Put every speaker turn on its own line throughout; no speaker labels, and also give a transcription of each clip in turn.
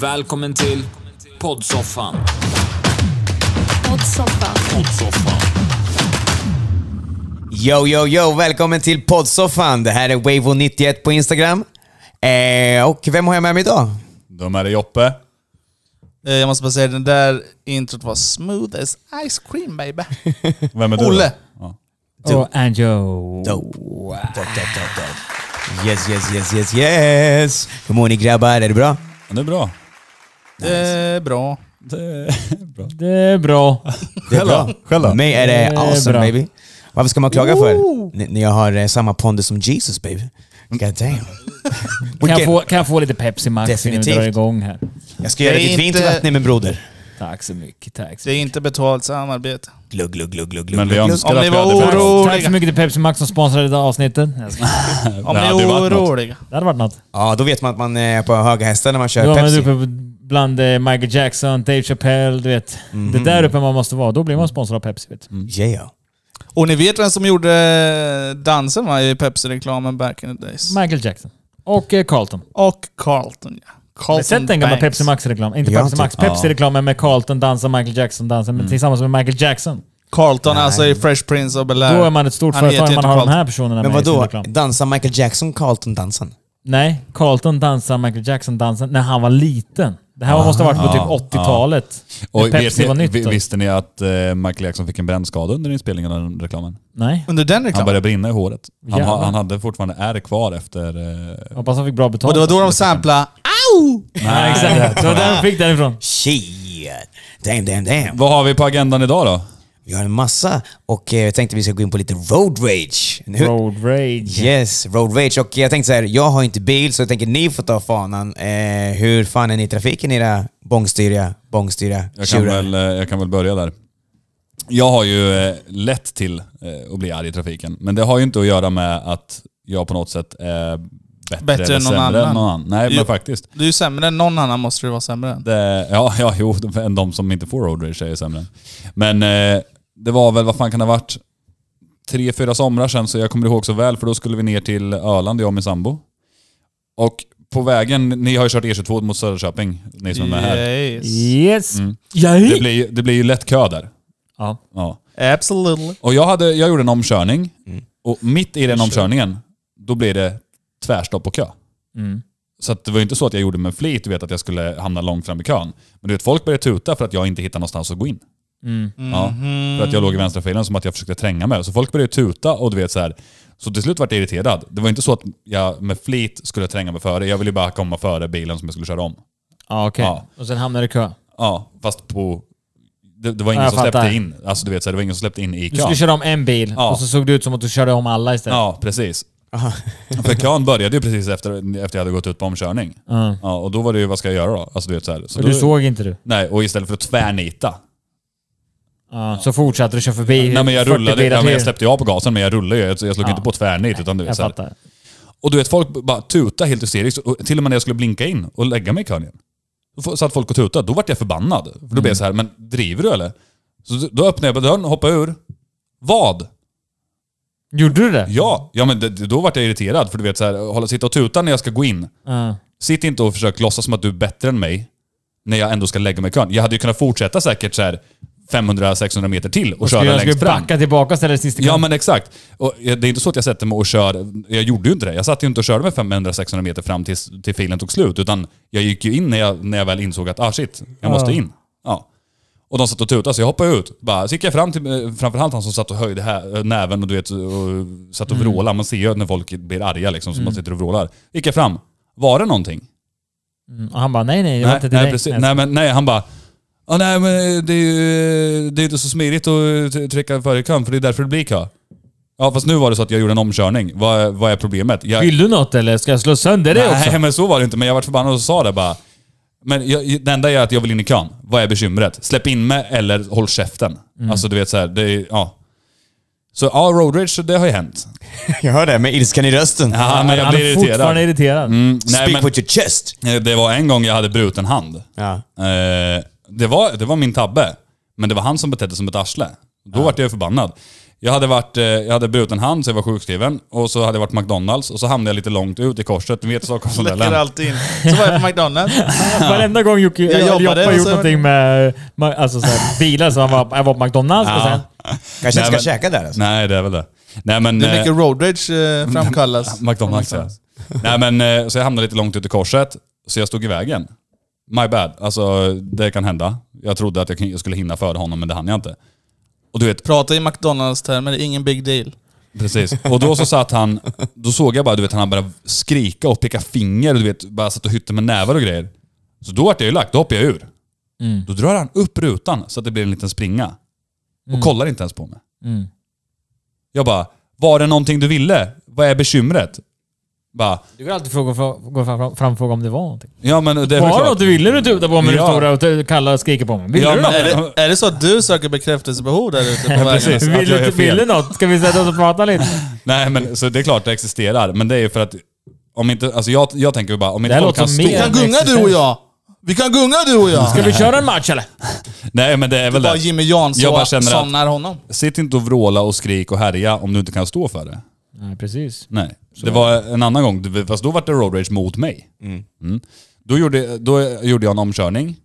Välkommen till poddsoffan.
Poddsoffan.
Yo, yo, yo! Välkommen till poddsoffan. Det här är Wavo91 på Instagram. Eh, och vem har jag med mig idag?
De är det Joppe.
Eh, Jag måste bara säga, den där introt var smooth as ice cream baby.
Vem är du?
Olle.
Ja.
Och Anjo.
Yes, yes, yes, yes, yes! Hur mår ni grabbar? Är det bra?
Men Det är bra.
Det är bra.
Det är bra.
Det är bra.
Det är bra.
Själv då?
mig är
Det
det
är
awesome
bra.
baby. Varför ska man klaga för? N- När jag har eh, samma pondus som Jesus baby. God damn.
Kan jag,
Vilken-
få, kan jag få lite Pepsi Max innan vi
Definitivt.
drar igång här?
Jag ska göra
Det är
ditt vin till
inte-
vatten min broder.
Tack så mycket. Tack så
Det är inte betalt samarbete.
Glugg, glugg, glugg, glugg,
Men
glugg.
vi önskar
Om
att
ni
vi
var
hade
oro-
mycket.
oroliga.
Tack så mycket till Pepsi Max som sponsrade det här avsnittet. Jag ska-
Om
Det
ni
hade ju varit
är
något.
oroliga.
Det hade varit något.
Ja, då vet man att man är på höga hästar när man
Då
kör
var man
Pepsi.
uppe bland eh, Michael Jackson, Dave Chappelle, du vet. Det är där uppe man måste vara. Då blir man sponsrad av Pepsi. Vet.
Mm.
du.
Yeah.
Och ni vet vem som gjorde dansen va, i Pepsi-reklamen back in the days?
Michael Jackson. Och eh, Carlton.
Och Carlton ja.
Har
Carlton
ni sett den gamla
Banks.
Pepsi Max-reklamen? Inte
Jag har
Pepsi Max.
inte-
Pepsi-reklamen med Carlton dansar, Michael Jackson dansar, men tillsammans med Michael Jackson.
Carlton alltså i Fresh Prince of Bel-Air.
Då är man ett stort
Han heter
företag om man
inte
har de
Carlton.
här personerna
Men
med i sin
vadå?
reklam.
Dansar Michael Jackson Carlton-dansen?
Nej, Carlton dansar Michael Jackson dansen när han var liten. Det här måste ha varit på
Ah,
typ 80-talet. när
Och
Pepsi var
vet ni,
nytt.
vi-
då.
visste ni att eh, Michael Jackson fick en brännskada under inspelningen av den reklamen?
Nej,
Under den
Han
reklamen?
började brinna i håret. Han,
Jävlar.
ha, han hade fortfarande ärr kvar efter... Eh,
hoppas han fick bra betalt.
Och det var då de samplade Au!
Nej, exakt. Det var där de fick därifrån.
Shit! Damn, damn, damn.
vad har vi på agendan idag då?
Vi har en massa och eh, jag tänkte vi ska gå in på lite road rage. Nu-
Road rage.
Yes, road rage. Och eh, jag tänkte så här, jag har inte bil så jag tänker ni får ta fanan. Eh, hur fan är ni i trafiken era bångstyriga, bångstyriga
Jag kan,
tjurar?
väl, eh, jag kan väl börja där. Jag har ju eh, lätt till eh, att bli arg i trafiken, men det har ju inte att göra med att jag på något sätt är bättre,
Bättre
eller
än någon
sämre
annan.
än någon annan. Nej,
Jo.
men faktiskt.
Du är ju sämre än någon annan måste du vara sämre än.
Det, Eh, ja, ja, jo, de- än de som inte får road rage är ju sämre. Men eh, det var väl, vad fan kan det ha varit? Tre, fyra somrar sedan, så jag kommer ihåg så väl, för då skulle vi ner till Öland, jag och min sambo. Och på vägen, ni har ju kört E22 mot Söderköping, ni som är med här.
Yes.
Yes.
Det
Jaj.
blir, ju- det blir ju lätt kö där.
Mm. Ja.
Ja.
Absolutely.
Och jag, hade, jag gjorde en omkörning, och mitt i den omkörningen, då blir det tvärstopp och kö.
Mm.
Så att det var ju inte så att jag gjorde med flit, du vet att jag skulle hamna långt fram i kön. Men du vet, folk började tuta för att jag inte hittade någonstans att gå in.
Mm.
Ja, för att jag låg i vänstra filen som att jag försökte tränga med. Så folk började tuta och du vet så här. Så till slut vart jag irriterad. Det var inte så att jag med flit skulle tränga mig före. Jag ville bara komma före bilen som jag skulle köra om.
Ja, okej.
Ja.
Och sen hamnade det i kö.
Ja, fast på... Det, det var
Ja,
ingen
jag
som släppte
fattar.
in. Alltså du vet, så här, det var ingen som släppte in i
Du skulle
kön.
köra om en bil
Ja.
och så såg det ut som att du körde om alla istället.
Ja, precis. För kön började ju precis efter, efter jag hade gått ut på omkörning.
Ja.
Ja, och då var det ju, vad ska jag göra då? Alltså du vet så här. Så
Och du
då,
såg inte du.
Nej, och istället för att tvärnita.
Ja. Så fortsatte du köra förbi
Nej men jag
40
rullade,
bilar
ja, men jag
till.
släppte ju av på gasen men jag rullade ju. Jag jag slog
Ja.
inte på tvärnit utan du vet
Jag
så här.
fattar.
Och du vet, folk bara tuta helt hysteriskt. Och till och med när jag skulle blinka in och lägga mig i kön igen. Då f- satt folk och tutade. Då vart jag förbannad. För då blev
Mm.
jag så här, men driver du eller? Så d- då öppnade jag dörren och hoppade ur. Vad?
Gjorde du det?
Ja, ja men det, det- då vart jag irriterad. För du vet så här, hålla, sitta och tuta när jag ska gå in.
Ja.
Sitt inte och försök låtsas som att du är bättre än mig. När jag ändå ska lägga mig i kön. Jag hade ju kunnat fortsätta säkert så här 500-600 meter till och, köra
Skulle jag
längst
skulle
fram.
backa tillbaka och ställa dig sist i
Ja
kön.
men exakt. Och eh, det är inte så att jag sätter mig och kör. Jag gjorde ju inte det. Jag satt ju inte och körde med 500-600 meter fram tills, till filen tog slut. Utan jag gick ju in när jag, när jag väl insåg att ah shit, jag måste in. Ja. Och de satt och tutade så jag hoppade ut. Bara, så gick jag fram till, eh, framförallt han som satt och höjde här, eh, näven och du vet, och satt och vrålade. Man ser ju när folk blir arga liksom, som man sitter och vrålar. Gick jag fram. Var det någonting?
Mm, Och han bara nej nej, det var
Nej,
inte till
nej,
dig.
precis.
Nej,
Nej, men, nej, han bara... Ah, nej, men det är ju det är inte så smidigt att t- trycka före i kön, för det är därför det blir kö. Ja, fast nu var det så att jag gjorde en omkörning. Vad, är- vad är problemet? Jag,
Vill du något eller ska jag slå sönder det också?
nej, men så var det inte. Men jag var förbannad och sa det bara. Men jag, det enda är att jag vill in i kön. Vad är bekymret? Släpp in mig eller håll käften.
Mm.
Alltså du vet så här, det är, ja. Så ja, road rage, så det har ju hänt.
Jag hör det med ilskan i rösten.
Ja, men jag
han
blir
är
irriterad.
fortfarande irriterad.
Mm,
Speak
nej, men,
with your chest!
Eh, Det var en gång jag hade bruten hand.
Ja.
Eh, det, var, det var min tabbe. Men det var han som betedde sig som ett arsle. Då vart jag förbannad. Jag hade, varit, eh, jag hade brutit en hand så jag var sjukskriven. Och så hade jag varit på McDonalds och så hamnade jag lite långt ut i korset. Ni vet
Läcker
Stockholmsmodellen.
alltid in. Så var jag på McDonalds.
Varenda gång Jocke
Jag
jag
jobbade,
Joppa
alltså- och
har gjort
så-
någonting med med- alltså, så här, bilar, så han var, jag var på McDonalds och sen...
Kanske inte
Nej,
ska
men-
käka där alltså.
Nej, det är väl det. Nej, men,
Det är
eh,
mycket road rage eh, framkallas.
McDonalds ja. Nej men eh, så jag hamnade lite långt ut i korset, så jag stod i vägen. My bad. Alltså det kan hända. Jag trodde att jag kun- jag skulle hinna före honom men det hann jag inte. Och du vet,
Prata i McDonalds-termer, det är ingen big deal.
precis. Och då så satt han, då såg jag bara du vet han började skrika och peka finger och du vet bara satt och hytte med nävar och grejer. Så då vart jag ju lack, då hoppade jag ur.
Mm.
Då drar han upp rutan så att det blir en liten springa. Och
Mm.
kollar inte ens på mig. Jag bara, var det någonting du ville? Vad är bekymret? Bara,
Du kan alltid fråga, gå fram, framfråga om det var någonting.
ja men det är väl
Var
klart."
det något du ville du tuta på mig?
Ja.
Du står där och kallar och skriker på mig. Vill
Ja,
du
men-
något?
Är det, är det så att du söker bekräftelsebehov där ute på vägen?
precis. att
Vill
jag gör
du,
fel.
vill du något? Ska vi sätta oss och prata lite?
Nej, men så det är klart det existerar. Men det är ju för att... Om inte, alltså jag, jag tänker ju bara, om
Det
inte
här
folk kan
låter som
stå...
Vi
mer.
kan gunga du och jag! Vi kan gunga du och jag!
Ska vi köra en match eller?
Nej, men det är väl
Bara
det.
Jimmy
Jag bara
Jansson
känner att-
somnar honom.
Sitt inte och vråla och skrik och härja om du inte kan stå för det.
Nej, precis.
Nej. Det var en annan gång, det- fast då var det road rage mot mig. Mm. Då, gjorde, då gjorde jag en omkörning.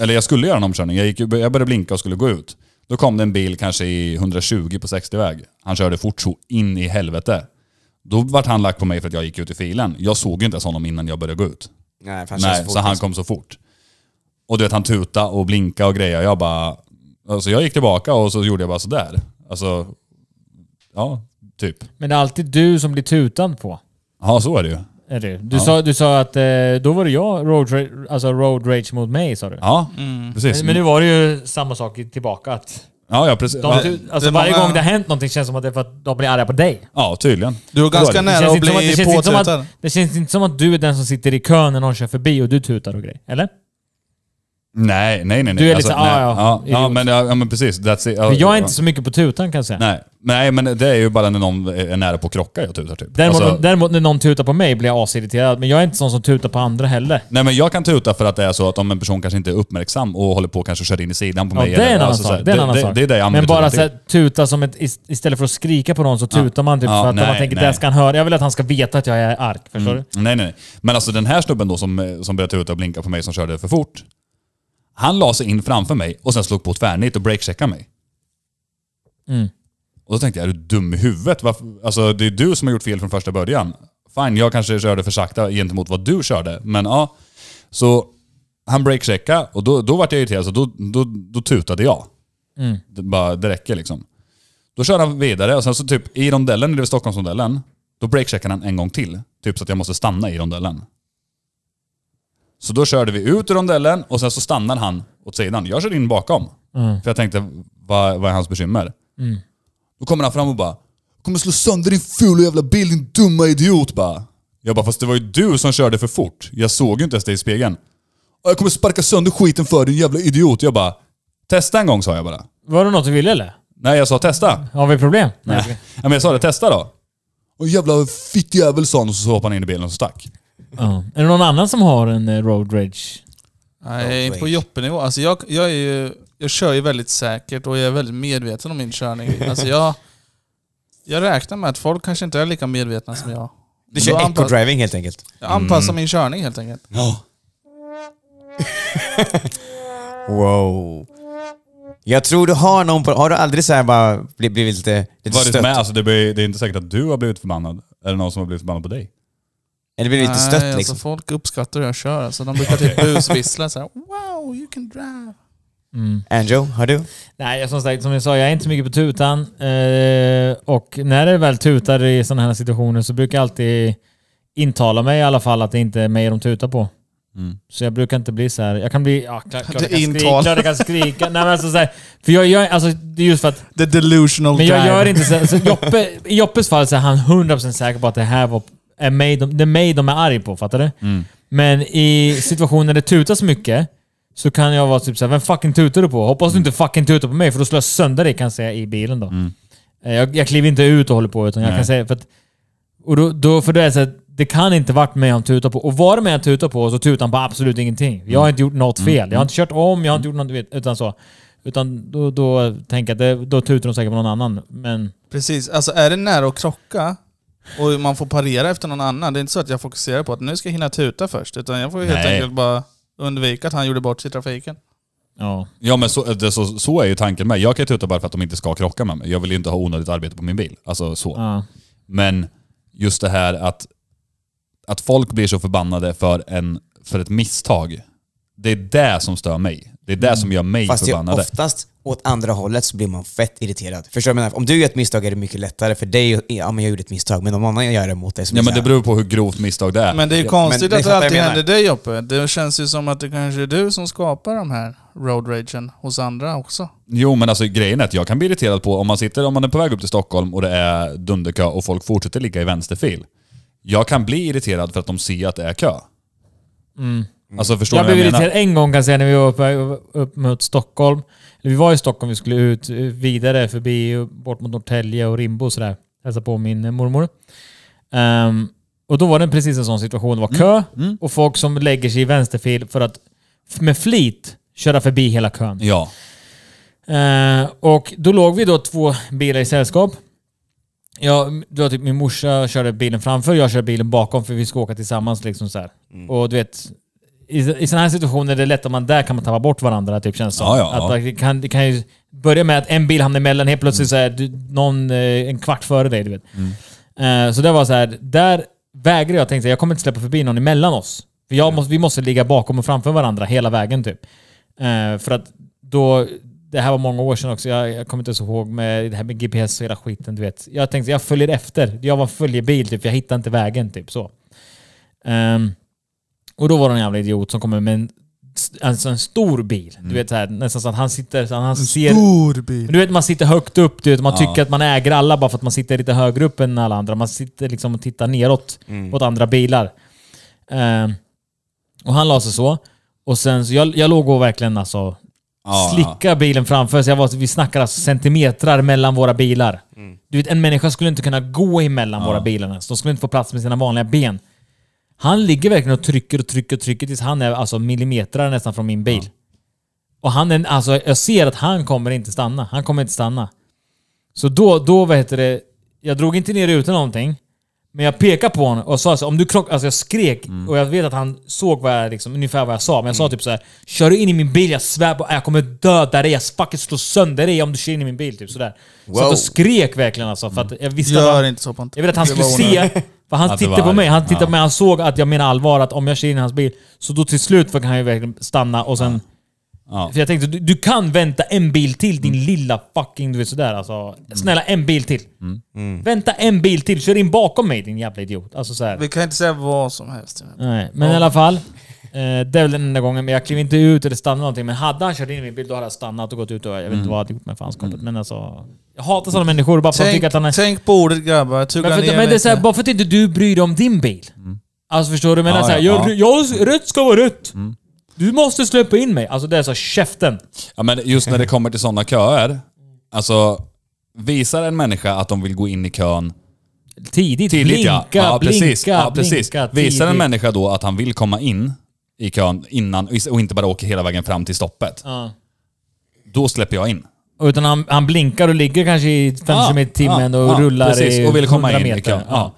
Eller jag skulle göra en omkörning. Jag, gick, jag började blinka och skulle gå ut. Då kom det en bil kanske i 120 på 60-väg. Han körde fort så in i helvete. Då vart han lack på mig för att jag gick ut i filen. Jag såg ju inte ens honom innan jag började gå ut.
Nej, fan, känns
Nej,
fort,
så han
alltså.
kom så fort. Och du vet, han tuta och blinka och grejer. Jag bara... Alltså jag gick tillbaka och så gjorde jag bara sådär. Alltså... Ja, typ.
Men det är alltid du som blir tutad på.
Ja, så är det ju.
Är det? Du, sa, du sa att eh, då var det jag road, ra- alltså road rage mot mig, sa du.
Ja, precis.
Mm. Men nu var det ju samma sak i- tillbaka. Att
ja, ja, precis.
de,
Ja,
tu- alltså,
det är
varje
många-
gång det har hänt någonting känns det som att det är för att de blir arga på dig.
ja, tydligen.
Du var ganska
Det
nära
känns,
att
inte som att, det,
bli
känns inte som
påtutad.
att, det känns inte som att du är den som sitter i kön när någon kör förbi och du tutar och grejer. Eller?
Nej, nej, nej. nej. Alltså,
Du är lite så,
nej.
ah, ja,
ja. Ja,
idiot.
men, ja, ja, men precis. That's it. Ja,
För jag är
ja.
inte så mycket på tutan kan jag säga.
Nej. nej, men det är ju bara när någon är nära på att krocka jag tutar typ.
Däremot,
Alltså,
däremot när någon tutar på mig blir jag asirriterad. Men jag är inte sån som tutar på andra heller.
Nej men jag kan tuta för att det är så att om en person kanske inte är uppmärksam och håller på och kanske kör in i sidan på
Ja,
mig.
det är en
eller-
annan
alltså, så här,
sak. Det är en annan
det,
sak.
Det, det är det jag
men
använder
bara
tutan
så
till.
här, tuta som ett... ist- Istället för att skrika på någon så tutar man typ
Ja,
för att
nej,
man tänker
nej. Mm.
det ska han höra. Jag vill att han ska veta att jag är arg. Förstår du?
Nej, nej, nej. Men alltså den här snubben då som, eh, som började tuta och blinka på mig som körde för fort. Han la sig in framför mig och sen slog på tvärnit och breakcheckade mig. Och då tänkte jag, är du dum i huvudet? Varför? Alltså det är du som har gjort fel från första början. Fine, jag kanske körde för sakta gentemot vad du körde, men ja. Så han breakcheckade och då, då vart jag irriterad, så då, då, då tutade jag. Det, bara, det räcker liksom. Då kör han vidare och sen så typ i rondellen, det är väl Stockholmsrondellen, då breakcheckar han en gång till. Typ så att jag måste stanna i rondellen. Så då körde vi ut ur rondellen och sen så stannar han åt sidan. Jag kör in bakom. För jag tänkte, vad, vad är hans bekymmer? Då kommer han fram och bara, jag kommer slå sönder din fula jävla bil din dumma idiot bara. Jag bara, fast det var ju du som körde för fort. Jag såg ju inte ens dig i spegeln. "Ja, Jag kommer sparka sönder skiten för dig, din jävla idiot. Jag bara, testa en gång sa jag bara.
Var det något du ville eller?
Nej, jag sa testa.
Har vi problem? Nej.
Nej. Ja, men jag sa det, testa då. Och jävla fittjävel sa han och så hoppade han in i bilen och så stack. Mm.
Ja. Är det någon annan som har en eh, road rage?
Nej, inte på joppenivå. Alltså jag, jag, är ju, jag kör ju väldigt säkert och jag är väldigt medveten om min körning. Alltså jag, jag räknar med att folk kanske inte är lika medvetna som jag.
Du kör
Då anpa-
eco-driving helt enkelt.
Jag anpassar min körning helt enkelt.
Wow. Jag tror du har någon på... Har du aldrig så här bara bli- blivit lite, lite
Varit
stött?
med, alltså, det, blir, det är inte säkert att du har blivit förbannad. Eller någon som har blivit förbannad på dig.
Eller blivit lite
Nej,
stött
alltså
liksom?
folk uppskattar hur jag kör. Alltså de brukar typ busvissla såhär Wow, you can drive.
alltså-
Angel, har du?
Nej, jag- som sagt, som jag sa, jag är inte så mycket på tutan. Eh, och när det väl tutar i sådana här situationer så brukar jag alltid intala mig i alla fall att det inte är mig de tutar på. Så jag brukar inte bli så här. Jag kan bli... Ja, klart, klart jag kan skrika.
Intal.
Klart jag kan skrika. Nej, men alltså, så här, för jag, jag, alltså, det är just för att...
The delusional
Men
drive.
jag gör inte så, här- så Joppe, I Joppes fall så är han 100% säker på att det här var, är mig de, det är mig de är arg på. Fattar du? Men i situationer där det tutas mycket så kan jag vara typ såhär, vem fucking tutar du på? Hoppas du inte fucking tutar på mig för då slår jag sönder dig kan jag säga i bilen då. Eh, Jag, jag kliver inte ut och håller på utan jag kan säga... För, att, och då, då, för då är det så här, det kan inte varit mig han tutar på. Och var det mig han tutar på så tutar han på absolut ingenting. Jag har inte gjort något fel. Jag har inte kört om, jag har inte gjort något... du vet, Utan så. Utan då, då tänker jag att det, då tutar de säkert på någon annan. Men
Precis, alltså är det nära att krocka och man får parera efter någon annan, det är inte så att jag fokuserar på att nu ska jag hinna tuta först, utan jag får ju helt
Nej.
enkelt bara undvika att han gjorde bort sig i trafiken.
ja.
Ja men så, det, så, så är ju tanken med. Jag kan ju tuta bara för att de inte ska krocka med mig. Jag vill ju inte ha onödigt arbete på min bil. Alltså så.
ja.
Men just det här att, att folk blir så förbannade för, en, för ett misstag. Det är det som stör mig. Det är det som gör mig
Fast det är
förbannad.
oftast åt andra hållet så blir man fett irriterad. Förstår du vad jag menar? Om du gör ett misstag är det mycket lättare för dig, att- ja men jag gjorde ett misstag, men om någon annan gör det mot dig så
Ja
blir
men det
så här-
beror på hur grovt misstag det är.
Men det är ju
Ja,
konstigt
men det
att
fattar
det
jag
alltid
menar.
händer dig Joppe. Det känns ju som att det kanske är du som skapar de här road ragen hos andra också.
Jo men alltså grejen är att jag kan bli irriterad på om man sitter, om man är på väg upp till Stockholm och det är dunderkö och folk fortsätter ligga i vänsterfil. Jag kan bli irriterad för att de ser att det är kö. Alltså förstår
Mm. Jag
ni
blev
vad jag
irriterad
menar?
en gång kan jag säga när vi var på väg upp mot Stockholm. Eller vi var i Stockholm, vi skulle ut eh, vidare förbi och bort mot Norrtälje och Rimbo och sådär. Hälsa på min eh, mormor. Ehm, och då var det precis en sån situation. Det
Mm,
var kö och folk som lägger sig i vänsterfil för att f- med flit köra förbi hela kön.
Ja.
Eh, och då låg vi då två bilar i sällskap. Jag, det var typ min morsa körde bilen framför, jag körde bilen bakom för vi ska åka tillsammans. Liksom så här.
Mm.
Och du vet, i, i sådana här situationer är det lätt att man där kan man tappa bort varandra. Typ, känns det som.
Ja, ja,
att
ja.
Det, kan, det kan ju börja med att en bil hamnar emellan, helt plötsligt så här,
Mm.
du, någon eh, en kvart före dig. Du vet.
Mm.
Eh, så det var så här, där vägrade jag. Tänkte jag kommer inte släppa förbi någon emellan oss. För jag måste, vi måste ligga bakom och framför varandra hela vägen typ. Eh, för att då, det här var många år sedan också, jag, jag kommer inte ens ihåg med det här med GPS och hela skiten du vet. Jag tänkte jag följer efter. Jag var en följebil typ, jag hittade inte vägen typ så. Ehm, och då var det en jävla idiot som kommer med en, alltså en stor bil. Du vet så här, nästan så att han sitter så att han ser...
Stor bil.
Men du vet man sitter högt upp, du vet, man tycker att man äger alla bara för att man sitter lite högre upp än alla andra. Man sitter liksom och tittar neråt
Mm.
mot andra bilar. Ehm, och han la sig så. Och sen så jag, jag låg och verkligen alltså
Ja,
slicka bilen framför. Så jag var, vi snackar alltså centimetrar mellan våra bilar.
Mm.
Du vet, en människa skulle inte kunna gå emellan våra bilar. ens. De skulle inte få plats med sina vanliga ben. Han ligger verkligen och trycker och trycker och trycker tills han är alltså millimeter nästan från min bil. Och han är, alltså, jag ser att han kommer inte stanna. Han kommer inte stanna. Så då, då vad heter det, jag drog inte ner rutan någonting. Men jag pekade på honom och sa alltså, om du krockar... Alltså jag skrek och jag vet att han såg vad jag, liksom, ungefär vad jag sa. Men jag sa typ så här: Kör du in i min bil, jag svär på jag kommer döda dig. Jag fucking slår sönder dig om du kör in i min bil. Typ sådär. Så att
Wow.
jag skrek verkligen alltså. För att jag visste att
Gör
han,
inte så Pontus.
jag ville att han
Det
skulle
var onödigt.
se. För han
Att det
tittade
var
på mig. Han tittade
ja.
på mig. Han såg att jag menar allvar. Att om jag kör in i hans bil, så då till slut kan han ju verkligen stanna och sen...
Ja. Mm.
För jag tänkte, du, du kan vänta en bil till din lilla fucking... Du vet sådär alltså. Snälla, en bil till.
Mm.
Mm.
Vänta en bil till. Kör in bakom mig din jävla idiot. Alltså såhär.
Vi kan inte säga vad som helst.
Nej, men i alla fall. Eh, det är väl den enda gången, men jag klev inte ut eller stannade någonting. Men hade han kört in i min bil, då hade jag stannat och gått ut och jag vet
Mm.
inte vad jag hade gjort med fanskapet. Men alltså... Jag hatar sådana människor bara för att de
Tänk,
tycker att han är...
tänk på ordet grabbar,
Men,
tugga
för,
ner
men det är
lite.
så här, bara för att inte du bryr dig om din bil. Alltså förstår du? Men
Mm. Ja,
så här,
ja, Mm.
jag, jag, rätt ska vara rätt. Du måste släppa in mig. Alltså det är så här, käften.
Ja, men just när det kommer till sådana köer. Alltså, visar en människa att de vill gå in i kön
Tidigt.
tidigt
blinka,
ja. ja, precis.
blinka,
ja, precis.
blinka.
Visar en
tidigt.
människa då att han vill komma in i kön innan och inte bara åker hela vägen fram till stoppet.
Ja.
Då släpper jag in.
Och Utan han, han blinkar och ligger kanske i 50
Ja,
km i timmen
ja,
och
ja,
rullar
precis,
i
och vill komma
100
in i
meter.
kön. Ja.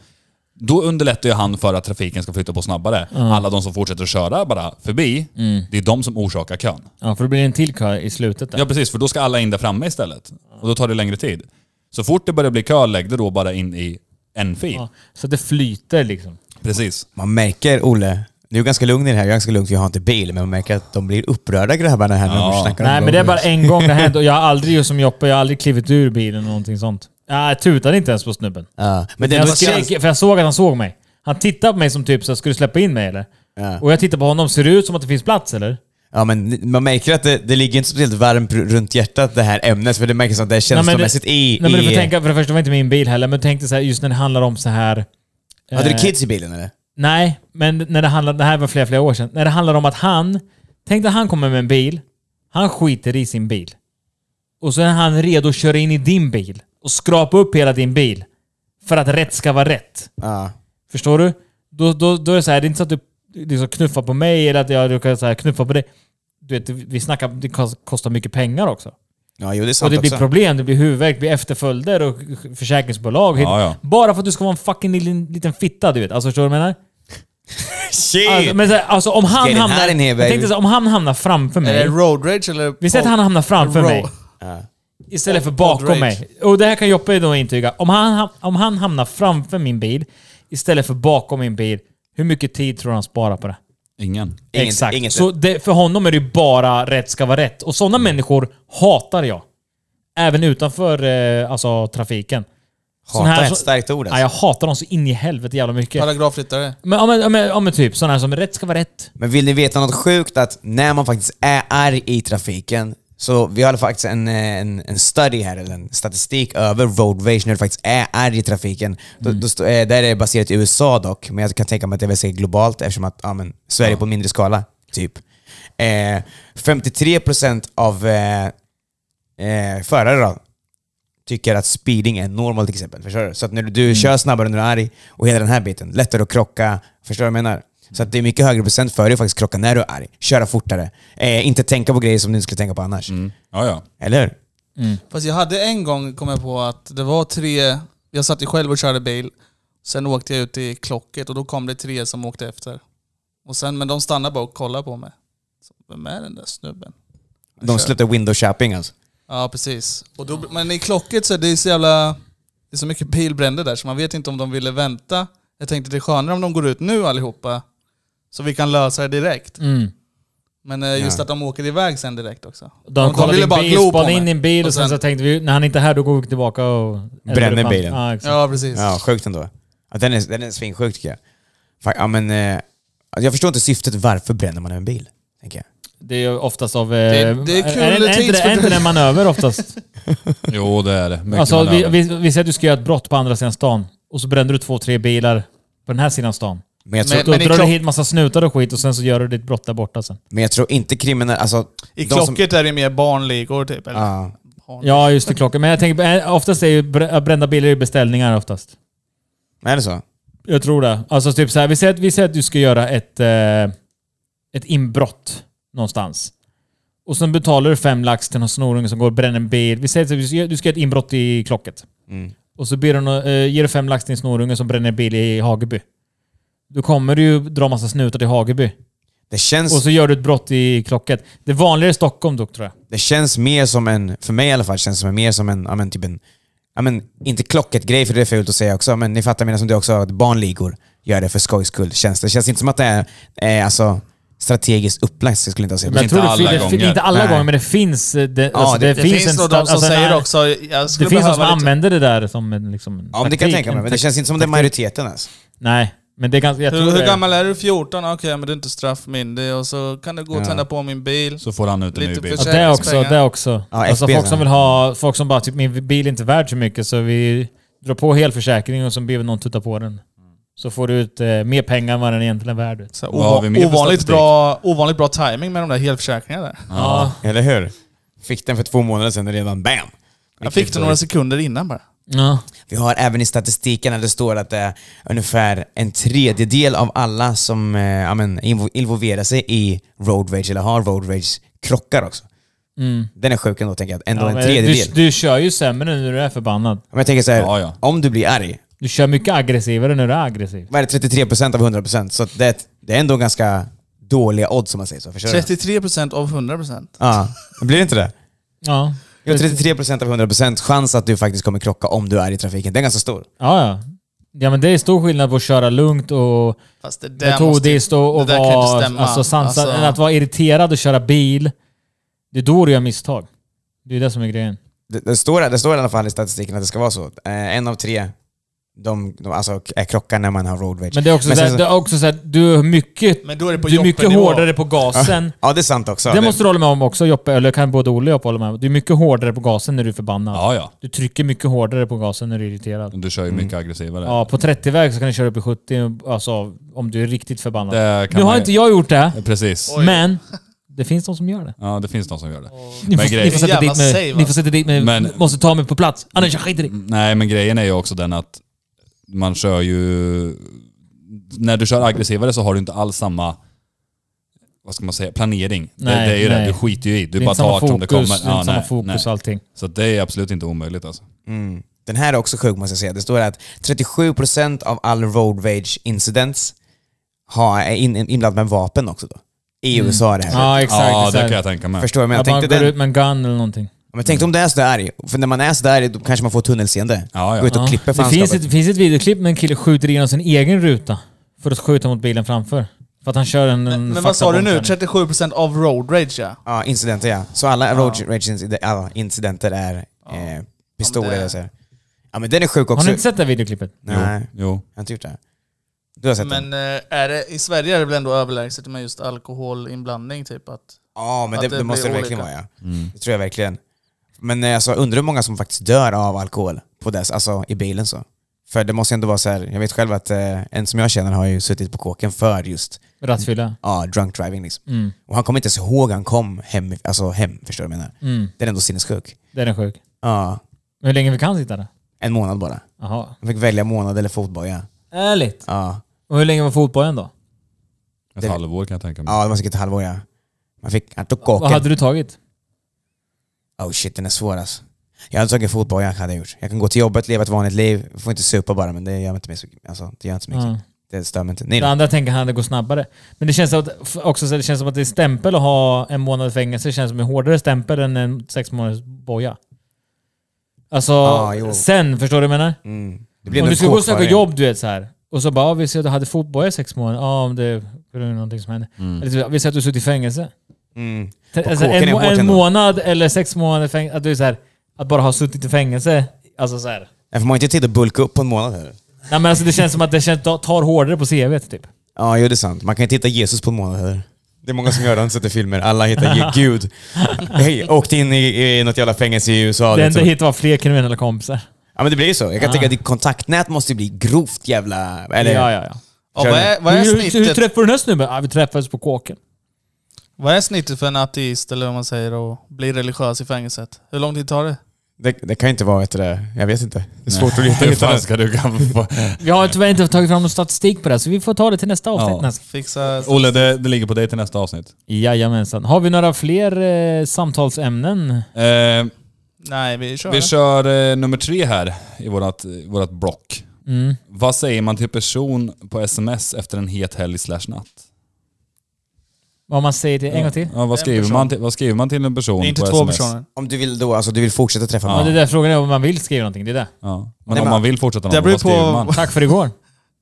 Då underlättar ju han för att trafiken ska flytta på snabbare. Alla de som fortsätter att köra bara förbi,
Mm.
det är de som orsakar kön.
Ja, för då blir det en till kö i slutet där.
Ja precis, för då ska alla in där framme istället. Och då tar det längre tid. Så fort det börjar bli kö, lägg det då bara in i en fil.
Ja, Så det flyter liksom.
Precis.
Man märker, Olle, du är ganska lugn i det här, jag är ganska lugn för jag har inte bil, men man märker att de blir upprörda grabbarna här när de först snackar om
Nej, men
road
det är bara
rage.
en gång det har hänt och jag har aldrig, just som Joppe, jag har aldrig klivit ur bilen eller någonting sånt. Jag tutade inte ens på snubben.
Ja, men det är
Jag
ändå känns...
skrek, för jag såg att han såg mig. Han tittade på mig som typ så här, ska du släppa in mig eller?
Ja.
Och jag tittade på honom, ser det ut som att det finns plats eller?
Ja, men man märker att det, det ligger inte speciellt varmt r- runt hjärtat det här ämnet, för det märks att det är känslomässigt i...
Nej, men du
i
får tänka, för det första var det inte min bil heller, men tänkte så här, just när det handlar om så här...
Hade du
eh,
kids i bilen eller?
Nej, men när det handlade, det här var flera, flera år sedan. När det handlade om att han, tänk dig han kommer med en bil, han skiter i sin bil. Och så är han redo att köra in i din bil och skrapa upp hela din bil. För att rätt ska vara rätt.
Ja.
Förstår du? Då, då, då är det så här, det är inte så att du liksom knuffar på mig eller att jag råkar så här knuffa på dig. du vet, vi snackar, det kost- kostar mycket pengar också.
Ja, jo det är sant
Och det blir
också.
problem, det blir huvudvärk, det blir efterföljder och försäkringsbolag.
Ja, ja.
Bara för att du ska vara en fucking liten, liten fitta, du vet. Alltså förstår du vad jag menar?
Shit!
Alltså, men så här, alltså om han
Get in
hamnar...
här in here,
jag
baby.
tänkte så här, om han hamnar framför
Är det
mig.
road rage eller...
Vi säger att han hamnar framför
Roll.
mig. Istället för
Rage.
bakom mig. Och det här kan Joppe då intyga. Om han, ham- om han hamnar framför min bil istället för bakom min bil, hur mycket tid tror du han sparar på det?
Ingen.
Inget-
Exakt.
inget.
så det, för honom är det ju bara rätt ska vara rätt. Och sådana människor hatar jag. Även utanför eh, alltså, trafiken. Sån
Hatar är
så-
ett starkt ord
Ja,
alltså.
jag hatar dem så in i helvete jävla mycket.
Paragrafryttare.
Men, ja, men, ja, men, ja, men typ sådana här som rätt ska vara rätt.
Men vill ni veta något sjukt? Att när man faktiskt är arg i trafiken, så vi har faktiskt en, eh, en, en study här, eller en statistik över road rage när du faktiskt är arg i trafiken. Då,
Mm.
då, stå- eh, där är det baserat i USA dock, men jag kan tänka mig att det är väl säkert globalt eftersom att ja, men, Sverige är på mindre skala, typ. Eh, 53% av eh, eh, förare då, tycker att speeding är normal till exempel. Förstår du? Så att när du, du kör
Mm.
snabbare när du är arg och hela den här biten, lättare att krocka. Förstår du vad jag menar? Så att det är mycket högre procent för dig att faktiskt krocka när du är arg. Köra fortare. Eh, inte tänka på grejer som du inte skulle tänka på annars.
Mm.
Mm. Ja, ja.
Eller hur?
Fast jag hade en gång kommit på att det var tre... Jag satt ju själv och körde bil. Sen åkte jag ut i klocket och då kom det tre som åkte efter. Och sen, men de stannade bara och kollade på mig. Så, Vem är den där snubben?
De släppte window shopping alltså.
Ja, precis. Och då, men i klocket så är det så jävla... Det är så mycket bilbränder där så man vet inte om de ville vänta. Jag tänkte det är skönare om de går ut nu allihopa. Så vi kan lösa det direkt.
Mm.
Men eh, just
Ja.
att de åker iväg sen direkt också.
De, kollade
ville
din
bara
bil,
glo på
spanade
mig.
in din bil och,
Och
sen,
sen-
så tänkte vi när han inte är här då går vi tillbaka och... eldar
Bränner
upp han.
bilen.
Ja, exakt.
Ja, precis.
Ja, sjukt ändå. Att den, är, den är svinsjuk tycker jag. Fan, ja, men, eh, jag förstår inte syftet. Varför bränner man en bil? Tänker jag.
Det är ju oftast av... eh,
Det- det är kul
är, är, inte det, är inte det en manöver oftast?
Jo, det är det. Mycket
Alltså, vi,
manöver.
vi, vi säger att du ska göra ett brott på andra sidan stan och så brände du två, tre bilar på den här sidan stan.
Men jag,
Men-
Då
tror,
i
drar du
klock-
hit massa snutar och skit och sen så gör du ditt brott där borta sen.
men jag tror inte kriminella... Alltså,
I
de som-
klocket är det mer barnligor typ. Eller?
Ja.
Barn.
Ja, just det. Klockan. Men jag tänker, eh, oftast är ju br- brända bilar ju beställningar oftast.
är det så?
Jag tror det. Alltså typ så här, vi säger att, vi säger att du ska göra ett, eh, ett inbrott någonstans. Och sen betalar du fem lax till någon snorunge som går och bränner en bil. Vi säger att du ska- du ska göra ett inbrott i klocket.
Mm.
Och så ber du, nå- eh, ger du fem lax till en snorunge som bränner en bil i Hageby. Då kommer du ju dra massa snutar till Hageby.
Det känns...
Och så gör du ett brott i klocket. Det är vanligare i Stockholm dock tror jag.
Det känns mer som en, för mig i alla fall, känns det som en- mer som en, ja men typ en, ja men inte klocket-grej för det är fult att säga också, men ni fattar mina som du också, att barnligor gör det för skojs skull. Känns det. det känns inte som att det är eh, alltså, strategiskt upplagt, så skulle jag inte ha sagt.
Men jag tror
inte
det fin-
alla
det, fin-
gånger.
Inte alla
Nej.
gånger, men det finns... eh, Det, alltså,
det-
det,
Det
finns,
finns,
en
nog
sta-
de som
alltså, en-
säger också, jag
Det
skulle
finns de som
behöva lite...
använder det där som en liksom, en
Ja, men det kan jag
taktik,
tänka mig,
en
men det känns inte som det är majoriteten alltså. ens.
Nej, men det är ganska... Jag tror
Hur,
det
hur
är-
gammal är du? 14? Okej, men du är inte straffmyndig. Och så kan du gå och tända på min bil.
Så får han ut en
Lite
ny bil.
för-
Ja, det också. Det också.
Ja,
alltså
FB,
folk som
ja.
vill ha... Folk som bara typ min bil är inte värd så mycket så vi drar på helförsäkring och så ber vi någon tutta på den. Så får du ut eh, mer pengar än vad den egentligen är värd.
Så här,
Vad har vi mer för
ova- ovanligt,
statistik?
bra, ovanligt bra timing med de där helförsäkringarna där.
Ja.
Eller hur? Fick den för två månader sedan och redan, bam!
Jag fick det några sekunder innan bara.
ja.
Vi har även i statistiken där det står att det är ungefär en tredjedel av alla som eh, ja, men, invo- involverar sig i road rage eller har road rage krockar också. Den är sjuk ändå tänker jag. Ändå
Mm. Ja,
en
men
tredjedel.
du, du kör ju sämre nu när du är förbannad.
Om jag tänker så här,
Ja, ja.
om du blir arg,
Du kör mycket aggressivare när du är aggressiv.
vad är det 33% av 100%? Så att det, är ett- det är ändå ganska dåliga odds om man säger så. Förstår du?
33% av 100%.
Ja, blir det inte det?
Ja.
Jo, 33% av 100% chans att du faktiskt kommer krocka om du är i trafiken. Den är ganska stor.
Ja, ja. Ja, men det är stor skillnad på att köra lugnt och
Fast det där måste...
metodiskt och, och
det där kan inte
vara
stämma.
alltså, sansad.
Alltså-
Än att vara irriterad och köra bil. Det är då du gör misstag. Det är det som är grejen.
Det, det, står, det står i alla fall i statistiken att det ska vara så. Eh, en av tre de, de, alltså, k- är krockar när man har road rage.
Men det är också,
Men
så
sen
här,
så-
det är också så här, du är mycket,
Men då är det på
du är mycket
jobbenivå.
hårdare på gasen.
Ja, det är sant också.
Det måste du hålla med om också Joppe, eller kan både Olle och Joppe hålla med om. Du är mycket hårdare på gasen när du är förbannad.
Ja, Mm. ja.
Du trycker mycket hårdare på gasen när du är irriterad.
Du kör ju mycket aggressivare.
Mm. Ja, på 30-väg så kan du köra upp i 70 alltså, om du är riktigt förbannad.
Det kan
Nu har
man-
inte jag gjort det,
Precis.
men det finns de som gör det.
Ja, det finns någon som gör det.
Ni
Men
får,
grejen-
ni får, sätta,
Jävla
dit mig,
save,
ni får sätta dit mig.
Men- Mm.
Måste ta mig på plats. Annars jag skiter i det.
Nej, men grejen är ju också den att man kör ju... När du kör aggressivare så har du inte alls samma... vad ska man säga, planering. det,
Nej,
det är ju det,
nej.
du skiter ju i. Du
Det är
bara
inte samma
tar som det
fokus,
kommer.
det är inte samma
nej,
fokus
nej.
och allting.
Så det är absolut inte omöjligt alltså.
Den här är också sjuk måste jag säga. Det står att 37% av all road rage incidents har, är in, in, inblandat med vapen också då. I USA är det här.
Mm. Ja, exakt.
ja, det
exakt.
kan jag tänka mig.
Förstår du? Men jag
Att man
tänkte,
går
den,
ut med en gun eller någonting.
men tänkte om det är sådär arg. För när man är sådär arg då kanske man får tunnelseende.
Ja, ja.
Gå ut och
Ja.
klipper
det finns
fanskapet.
ett, finns ett videoklipp med en kille skjuter igenom sin egen ruta för att skjuta mot bilen framför. För att han kör en... en
Men vad sa du nu?
faktabomb.
37% av road rage ja.
Ja, incidenter ja. Så alla road rage incid- ja, incidenter är eh, pistoler.
Ja, men det-
och så här. Ja men den är sjuk också.
Har ni inte sett det här videoklippet?
Nej,
Jo.
jag har inte gjort det. Du har sett den?
Men eh, är det, i Sverige är det väl ändå överlägset med just alkoholinblandning typ? Att,
Ja, men
Att
det,
det
det måste det
blir
verkligen vara
olika.
ja.
Mm.
Det tror jag verkligen. Men eh, alltså, undrar hur många som faktiskt dör av alkohol på dess, alltså i bilen så. För det måste ju ändå vara så här. jag vet själv att eh, en som jag känner har ju suttit på kåken för just
Rattfylla? Mm,
ja, drunk driving liksom. Och han kommer inte ens ihåg han kom hem, alltså hem, förstår du vad jag menar?
Mm,
Det är ändå sinnessjuk.
det är den sjuk.
Ja,
Hur länge vi kan sitta där?
en månad bara.
Jaha.
Han fick välja månad eller fotboja.
Ärligt?
Ja,
Och hur länge var fotbollen då?
Ett
Det-
halvår kan jag tänka mig.
ja det var säkert ett halvår ja. Man fick, han tog
Vad hade
kåken.
du tagit?
Oh shit, den är svår alltså. Jag hade tagit fotboja, hade jag gjort. Jag kan gå till jobbet, leva ett vanligt liv. Jag får inte supa bara, men det gör inte mig så, alltså, det gör inte så mycket.
Mm. Ja.
Det stör mig inte. Nej,
Det
nej.
andra tänker han, det går snabbare. Men det känns, att, f- också, så det känns som att det är stämpel att ha en månad fängelse. Det känns som en hårdare stämpel än en sex månaders boja. Alltså,
Ja, Ah, jo.
sen, förstår du vad jag menar?
Mm. Det blir
Om
ändå
du ska gå och söka
kåkfarare.
jobb, du vet så här. Och så bara, ja, vi ser att du hade fotboja i sex månader. Ja, om det på grund av någonting som hände. Eller typ, vi ser att du har suttit i fängelse.
Mm.
T-
Och
Alltså,
kåken
en,
är
må-
hårt
en
ändå.
månad eller sex månader fängelse. Att, du är så här, att bara ha suttit i fängelse. Alltså så här.
Ja, för man har inte tid att bulka upp på en månad heller.
Nej, men alltså, det känns som att det känns, tar hårdare på CVt typ.
Ja, jo det är sant. Man kan inte hitta Jesus på en månad heller. Det är många som gör det, de sätter filmer. Alla hittar Ge- Gud. Hej, åkte in i, i något jävla fängelse i USA.
Det
Det
enda
så.
jag hittade var fler kriminella kompisar.
liksom. Ja men det blir ju så. Jag kan
Ah.
tycka att ditt kontaktnät måste ju bli grovt jävla... Eller,
Ja, ja, ja.
ja,
Kör
vad, är, vad, är
Hur, hur, hur
snittet,
träffade du den här snubben? Ah, vi träffades på kåken.
vad är snittet för en ateist, eller vad man säger, att bli religiös i fängelset? Hur lång tid tar det?
Det, det kan ju inte vara ett det där. Jag vet inte. Det är svårt att leta
Hur
efter
fan
det.
ska du kan få...
Vi har tyvärr inte tagit fram någon statistik på det, här, så vi får ta det till nästa avsnitt.
Ja.
Nästa.
Fixa...
Olle, det, det ligger på dig till nästa avsnitt.
Jajamensan. Har vi några fler eh, samtalsämnen?
Eh,
Nej, vi kör.
vi kör eh, nummer tre här i vårat, i vårat block.
Mm.
Vad säger man till person på sms efter en het helg slash natt?
Vad man säger till, en gång till?
Ja, vad, skriver
person.
man till, vad skriver man till en person
det är inte
på
två
sms?
personer.
Om du vill då, alltså du vill fortsätta träffa
Ja,
mig.
det är där frågan är om man vill skriva någonting. Det är det.
Ja. Men
Nej,
om
men-
man vill fortsätta
Det
någon,
beror
vad skriver
på-
man?
Tack för igår.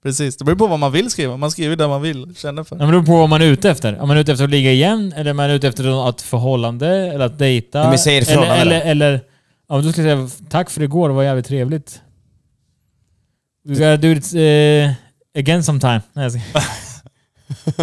Precis, det beror på vad man vill skriva. Man skriver det man vill, känner för.
Ja, men Det beror på vad man är ute efter. Om man är ute efter att ligga igen, eller om man är ute efter ett förhållande, eller att dejta.
Nej, men säg ett
eller,
förhållande
eller, eller om du ska säga tack för igår, det var jävligt trevligt. We gotta do it eh, again sometime. Nej, jag ska-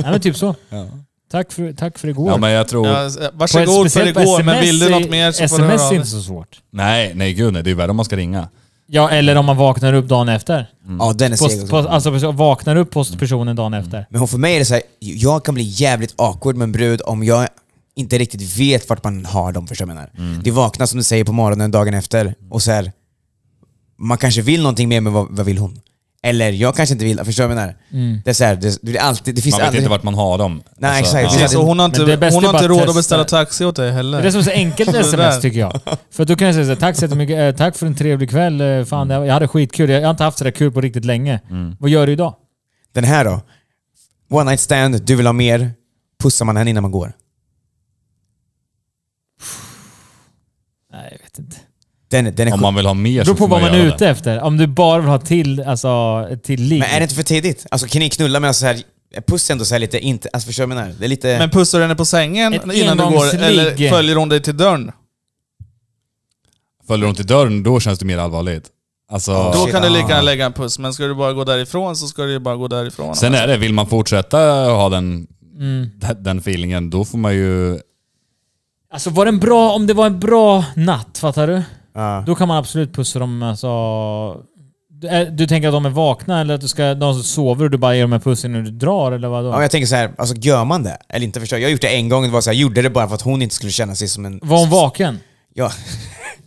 Nej men typ så.
Ja.
Tack, för, tack för igår.
Ja, men jag tror...
Ja, eh,
På ett
varsågod för
speciellt
igår, men
SMS
vill du något
är-
mer så får du
SMS
höra
är
av dig.
inte så svårt.
Nej, nej gud nej. Det är ju värre om man ska ringa.
Ja, eller om man vaknar upp dagen efter.
Ja, den är seg
Post, post,
också.
alltså vaknar upp post personen dagen
Mm.
efter.
Men för mig är det så här, jag kan bli jävligt awkward med en brud om jag inte riktigt vet vart man har dem, förstår du vad jag menar?
Mm.
Det vaknar som du säger på morgonen dagen efter och så här, man kanske vill någonting mer, men vad, vad vill hon? Eller jag kanske inte vill, förstår du vad jag menar? Det, är så här, det, det, blir alltid, det finns
Man vet
alltid...
inte vart man har dem. Alltså,
Nej, exakt.
Ja.
Precis.
Precis, och hon har
Men det är
inte,
bäst
hon har
att
inte
bara
råd att
testa.
beställa taxi åt dig
Det
heller.
är det som är så enkelt med
Det där.
sms tycker jag. För att då kan jag säga såhär, tack så jättemycket, eh, tack för en trevlig kväll, eh, fan det- jag hade skitkul, jag jag har inte haft sådär kul på riktigt länge. Vad gör du idag?
Den här då? One night stand, du vill ha mer, pussar man henne innan man går?
Nej, jag vet inte.
Den, den är
Om
sjuk.
man vill ha mer
Det beror
så
på
får
vad man är
göra
ute efter. Om du bara vill ha till, alltså, ett till ligg.
Men är det inte för tidigt? Alltså kan ni knulla med så här, puss är ändå så här lite, inte, alltså förstår du vad jag menar? Det är lite...
Men pussar du henne på sängen
Ett
innan du går, eller
engångsligg.
följer hon dig till dörren?
Följer de till dörren, då känns det mer allvarligt. Alltså,
Ja.
Då
shit,
kan du lika
ah.
gärna lägga en puss, men ska du bara gå därifrån så ska du ju bara gå därifrån.
sen är det, vill man fortsätta ha den,
Mm.
den- den feelingen, då får man ju...
Alltså var det en bra, om det var en bra natt, fattar du?
Ja.
Då kan man absolut pussa dem alltså... Du- är- Du tänker att de är vakna eller att du ska, de som sover och du bara ger dem en puss innan du drar eller vadå?
Ja, men jag tänker så här, alltså gör man det? Eller inte förstår jag. Jag har gjort det en gång, det var så här, jag gjorde det bara för att hon inte skulle känna sig som en...
Var hon vaken?
Ja.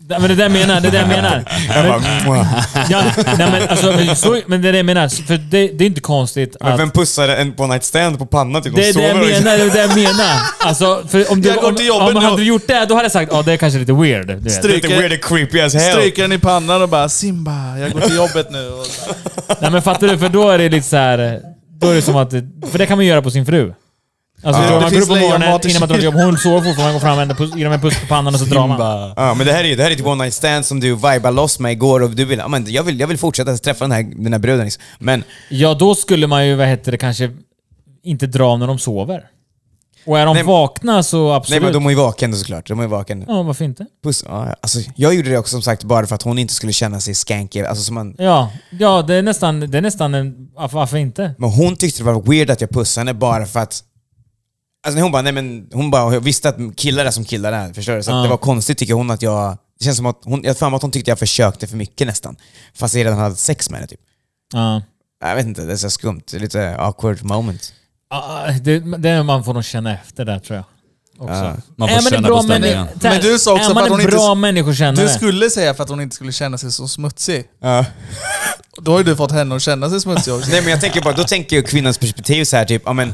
Men det är det jag menar. Det är det jag menar.
Jag bara, "Mwah."
Ja, nej, men, alltså, men, så, men det är det jag menar. För det, det är inte konstigt
Men
att...
vem pussar en på night stand på pannan? Typ,
Det är
de
det jag
sover och-
menar. Det är det jag menar. Alltså, för om du,
liksom? Jag går
om,
till
om
jobbet
man
nu.
hade gjort det, då hade jag sagt ja, det är kanske lite weird. Du vet.
Stryk.
Lite weird and creepy as hell.
Stryker den i pannan och bara Simba, jag går till jobbet nu. Och så.
Nej men fattar du? För då är det lite så här. Då är det som att... För det kan man göra på sin fru. Alltså,
Ja.
man
Det
går upp
finns
på morgonen
lejonmat i
innan man drar till jobbet. Hon sover fortfarande, man går fram och ändå puss- ger dem en puss på pannan och så drar man.
Ja, men det här är ju det här är typ one night stand som du vibar loss med igår och du vill, ja, men jag vill, jag vill fortsätta träffa den här, den här bruden liksom. Men
Ja, då skulle man ju, vad heter det, kanske inte dra när de sover. Och är de
Nej, men-
vakna så absolut.
nej men de är ju vaken då såklart. De är ju vaken.
Ja, varför inte?
Puss. Ja, alltså, jag gjorde det också som sagt bara för att hon inte skulle känna sig skanky. Alltså, som man,
Ja, ja det, är nästan, det är nästan en... Varför, varför inte?
men hon tyckte det var weird att jag pussade henne bara för att Alltså hon bara, nej men hon bara jag visste att killar är som killar är, förstår du? Så att
Ja.
det var konstigt tycker hon att jag... Det känns som att hon, jag har för mig att hon tyckte jag försökte för mycket nästan. Fast jag redan hade sex med henne typ.
Ja.
Jag vet inte, det är så skumt. Det är Lite awkward moment.
Ah, det, det är man får nog känna efter där tror jag. Också.
Man får
är man en
känna
bra
på stämningen.
människa- så här,
Men du sa också
är
för
man
att
en
hon inte-
bra människokännare?
Du skulle säga för att hon inte skulle känna sig så smutsig.
Ja.
Då har ju du fått henne att känna sig smutsig också.
Nej men jag tänker bara, då tänker jag kvinnans perspektiv så här typ, ja men...
Ah,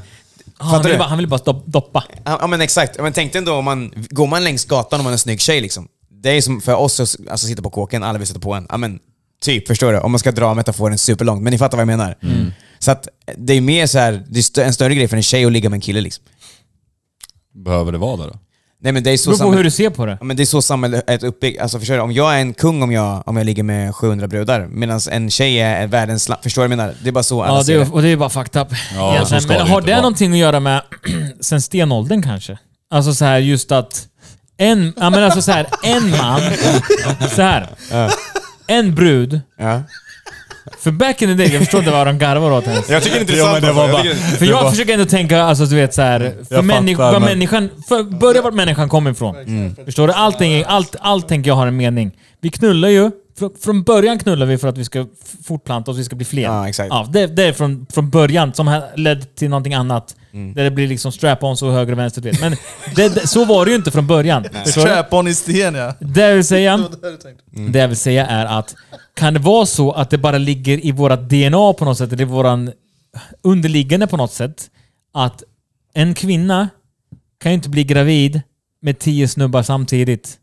han,
fattar
vill
du?
bara, han vill bara stopp- doppa.
Ja ja, men exakt, Ja, men tänk dig ändå om man, går man längs gatan om man är en snygg tjej liksom. Det är som för oss att alltså, sitta på kåken, alla vill sitta på en. Ja men, typ, förstår du? Om man ska dra metaforen superlångt, men ni fattar vad jag menar.
Mm.
Så att det är mer så här, det är stö- en större grej för en tjej att ligga med en kille liksom.
Behöver det vara det då?
Nej men det är så
Det beror på
samhället-
hur du ser på det.
Ja, men det är så samhället är uppbyggt. Alltså, förstår du? Om jag är en kung om jag, om jag ligger med 700 brudar, medan en tjej är världens slapp. Förstår du vad jag menar? Det är bara så alla
Ja, det
ser det.
är, och det är bara fucked up.
Ja,
egentligen.
så ska
Men
det
har
inte
det
vara.
någonting att göra med sen stenåldern kanske? Alltså så här just att en, ja, men alltså så här, en man, så här. En brud,
Ja.
för back in the day, jag förstår inte vad de garvar åt ens.
Jag tycker det är
Ja, men
intressant.
det var
alltså.
bara,
Jag tycker-
För jag försöker ändå tänka, alltså du vet såhär, för
Jag
människ-
fattar,
vad
men- Mm.
människan, för, börja vart människan kommer ifrån. Förstår du? Allting, allt, allt tänker jag har en mening. Vi knullar ju, fr- från början knullar vi för att vi ska f- fortplanta oss, vi ska bli fler.
Ja, exakt.
det, det är från, från början som här ledde till någonting annat.
Mm.
Där det blir liksom strap-ons och höger och vänster, du vet. Men det, det, så var det ju inte från början. Förstår du?
Strap-on i sten ja.
Det jag vill säga,
Det var det du tänkte.
det jag vill säga är att kan det vara så att det bara ligger i vårat DNA på något sätt, eller i våran underliggande på något sätt, att en kvinna kan ju inte bli gravid med tio snubbar samtidigt.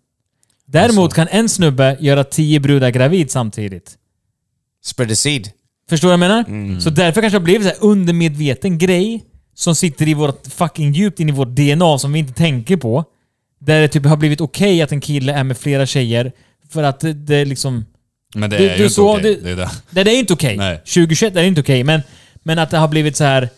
Däremot kan en snubbe göra tio brudar gravid samtidigt.
Spread the seed.
Förstår du vad jag menar? Så därför kanske det har blivit så här undermedveten grej som sitter i vårt fucking djupt in i vårt DNA som vi inte tänker på. Där det typ har blivit okej att en kille är med flera tjejer för att det, det är liksom...
Men det
Du-
är
du
ju inte
såg-
okej.
du-
Det är det.
Nej, det är inte okej.
Nej.
2021 är det inte okej, men, men att det har blivit så här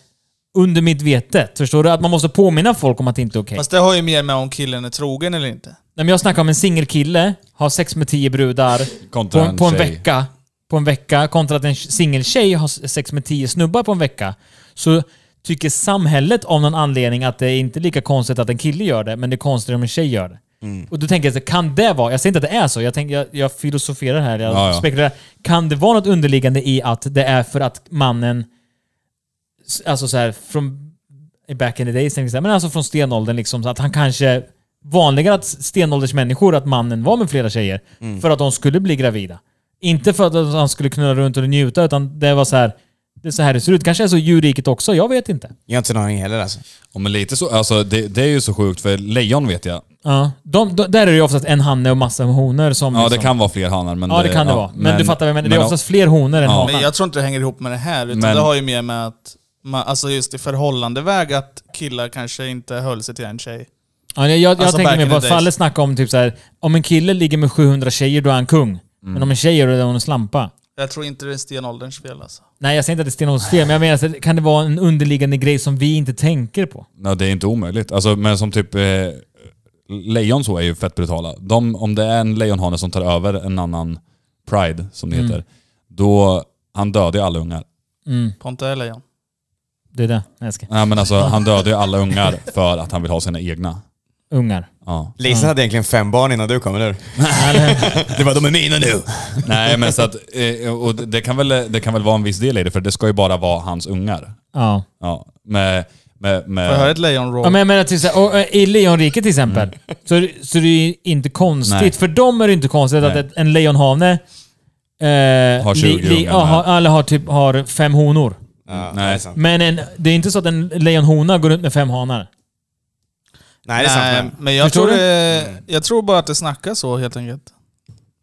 undermedvetet. Förstår du? Att man måste påminna folk om att det inte är okej.
Fast det har ju mer med om killen är trogen eller inte.
Nej, men Jag snackar om en singelkille, har sex med tio brudar
Kontra
på,
en
på en
tjej.
vecka. På en vecka, kontra att en singeltjej har sex med tio snubbar på en vecka. Så tycker samhället av någon anledning att det är inte lika konstigt att en kille gör det, men det är konstigt om en tjej gör det.
Mm.
Och då tänker jag, så här, kan det vara... Jag säger inte att det är så, jag, tänker, jag, jag filosoferar här. Jag
Ja, ja.
spekulerar. Kan det vara något underliggande i att det är för att mannen alltså så här, från i back in the days, tänkte jag, så här, men alltså från stenåldern liksom, så att han kanske vanligare att stenåldersmänniskor, att mannen var med flera tjejer för att de skulle bli gravida. Inte för att han skulle knulla runt och njuta, utan det var så här det är så här det ser ut. kanske är så i djurriket också, jag vet inte.
Jag har inte någon aning heller alltså.
Ja, men lite så, alltså, det, det är ju så sjukt, för lejon vet
Mm,
jag.
Ja, de, de, där är det ju oftast en hanne och massa honor som...
Ja, det
liksom,
kan vara fler hanar. Men
ja, det kan det vara. Men, du fattar vad jag menar. Det är oftast fler honor än
Ja.
hanar.
Men jag tror inte det hänger ihop med det här, utan
Men-
det har ju mer med att man, alltså just i förhållandeväg att killar kanske inte höll sig till en tjej.
Ja, jag jag,
Alltså,
jag tänker
back
mig
in
bara,
the days.
Falle snackar om typ så här, om en kille ligger med 700 tjejer, då är han kung. Men om en tjej gör det, då är hon en slampa.
Jag tror inte det är stenålderns fel alltså.
Nej, jag säger inte att det är Stenholms fel, men jag menar, så här, kan det vara en underliggande grej som vi inte tänker på?
Nej, det är inte omöjligt. Alltså, men som typ... Eh, lejon så är ju fett brutala. De, om det är en lejonhane som tar över en annan pride, som
Mm.
det heter, då... Han dödar ju alla ungar.
Pontus eller John.
Det är det. Nej, jag ska.
Nej, men alltså, han dödar ju alla ungar för att han vill ha sina egna.
Ungar.
Ja.
Lisa hade egentligen fem barn innan du kom, eller hur? det var de är mina nu!
Nej, men så att... Eh, och det, kan väl, det kan väl vara en viss del i det, för det ska ju bara vara hans ungar.
Ja.
Ja, med... med, med
Får jag höra ett lejon roll?
ja men jag menar, till, så här, och, eh, i Leonriket till exempel, Så, så det är inte konstigt.
Mm. Nej.
För dem är det inte konstigt att
Nej.
ett- en lejonhane eh,
Har 20 ungar,
ja, har, eller har, typ, har fem honor.
Ja,
Nej.
Det är sant.
Men en, det är inte så att en lejonhona går runt med fem hanar.
Nej, det är sant. men-
men jag
Förstår
tror,
du?
det, jag tror bara att det snackas så helt enkelt.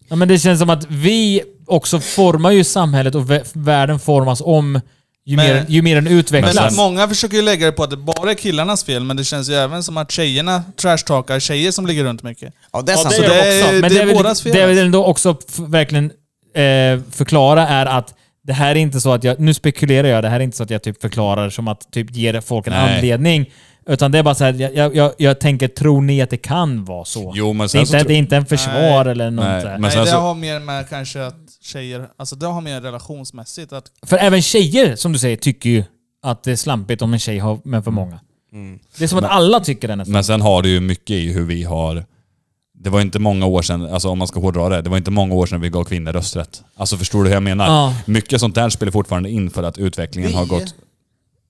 Ja, men det känns som att vi också formar ju samhället och vä- världen formas om ju,
Men-
mer, ju mer den
Men
utvecklas.
sen-
många försöker ju lägga det på att det bara är killarnas fel, men det känns ju även som att tjejerna trashtalkar tjejer som ligger runt mycket.
Ja, det är sant.
det är-
Så det-
också.
Men
det
det,
är
jag
våras
vill,
fel
det jag
alltså.
vill ändå också f- verkligen eh, förklara är att det här är inte så att jag... Nu spekulerar jag. Det här är inte så att jag typ förklarar som att typ ger folk en
Nej.
anledning. Utan det är bara så här, jag, jag, jag, jag tänker, tror ni att det kan vara så?
Jo, men
det, är
sen så...
inte, det är
tro-
inte en försvar eller något
Nej,
där.
men sen
Nej, det
så...
har mer med kanske att tjejer... Alltså det har mer relationsmässigt att...
För även tjejer, som du säger, tycker ju att det är slampigt om en tjej har med
Mm.
för många. Det är som att alla tycker det nästan.
Men sen har det ju mycket i hur vi har... Det var inte många år sedan, alltså om man ska hårdra det, det var inte många år sedan vi gav kvinnor rösträtt. Alltså förstår du hur jag menar?
Ja.
Mycket sånt där spelar fortfarande in för att utvecklingen har gått...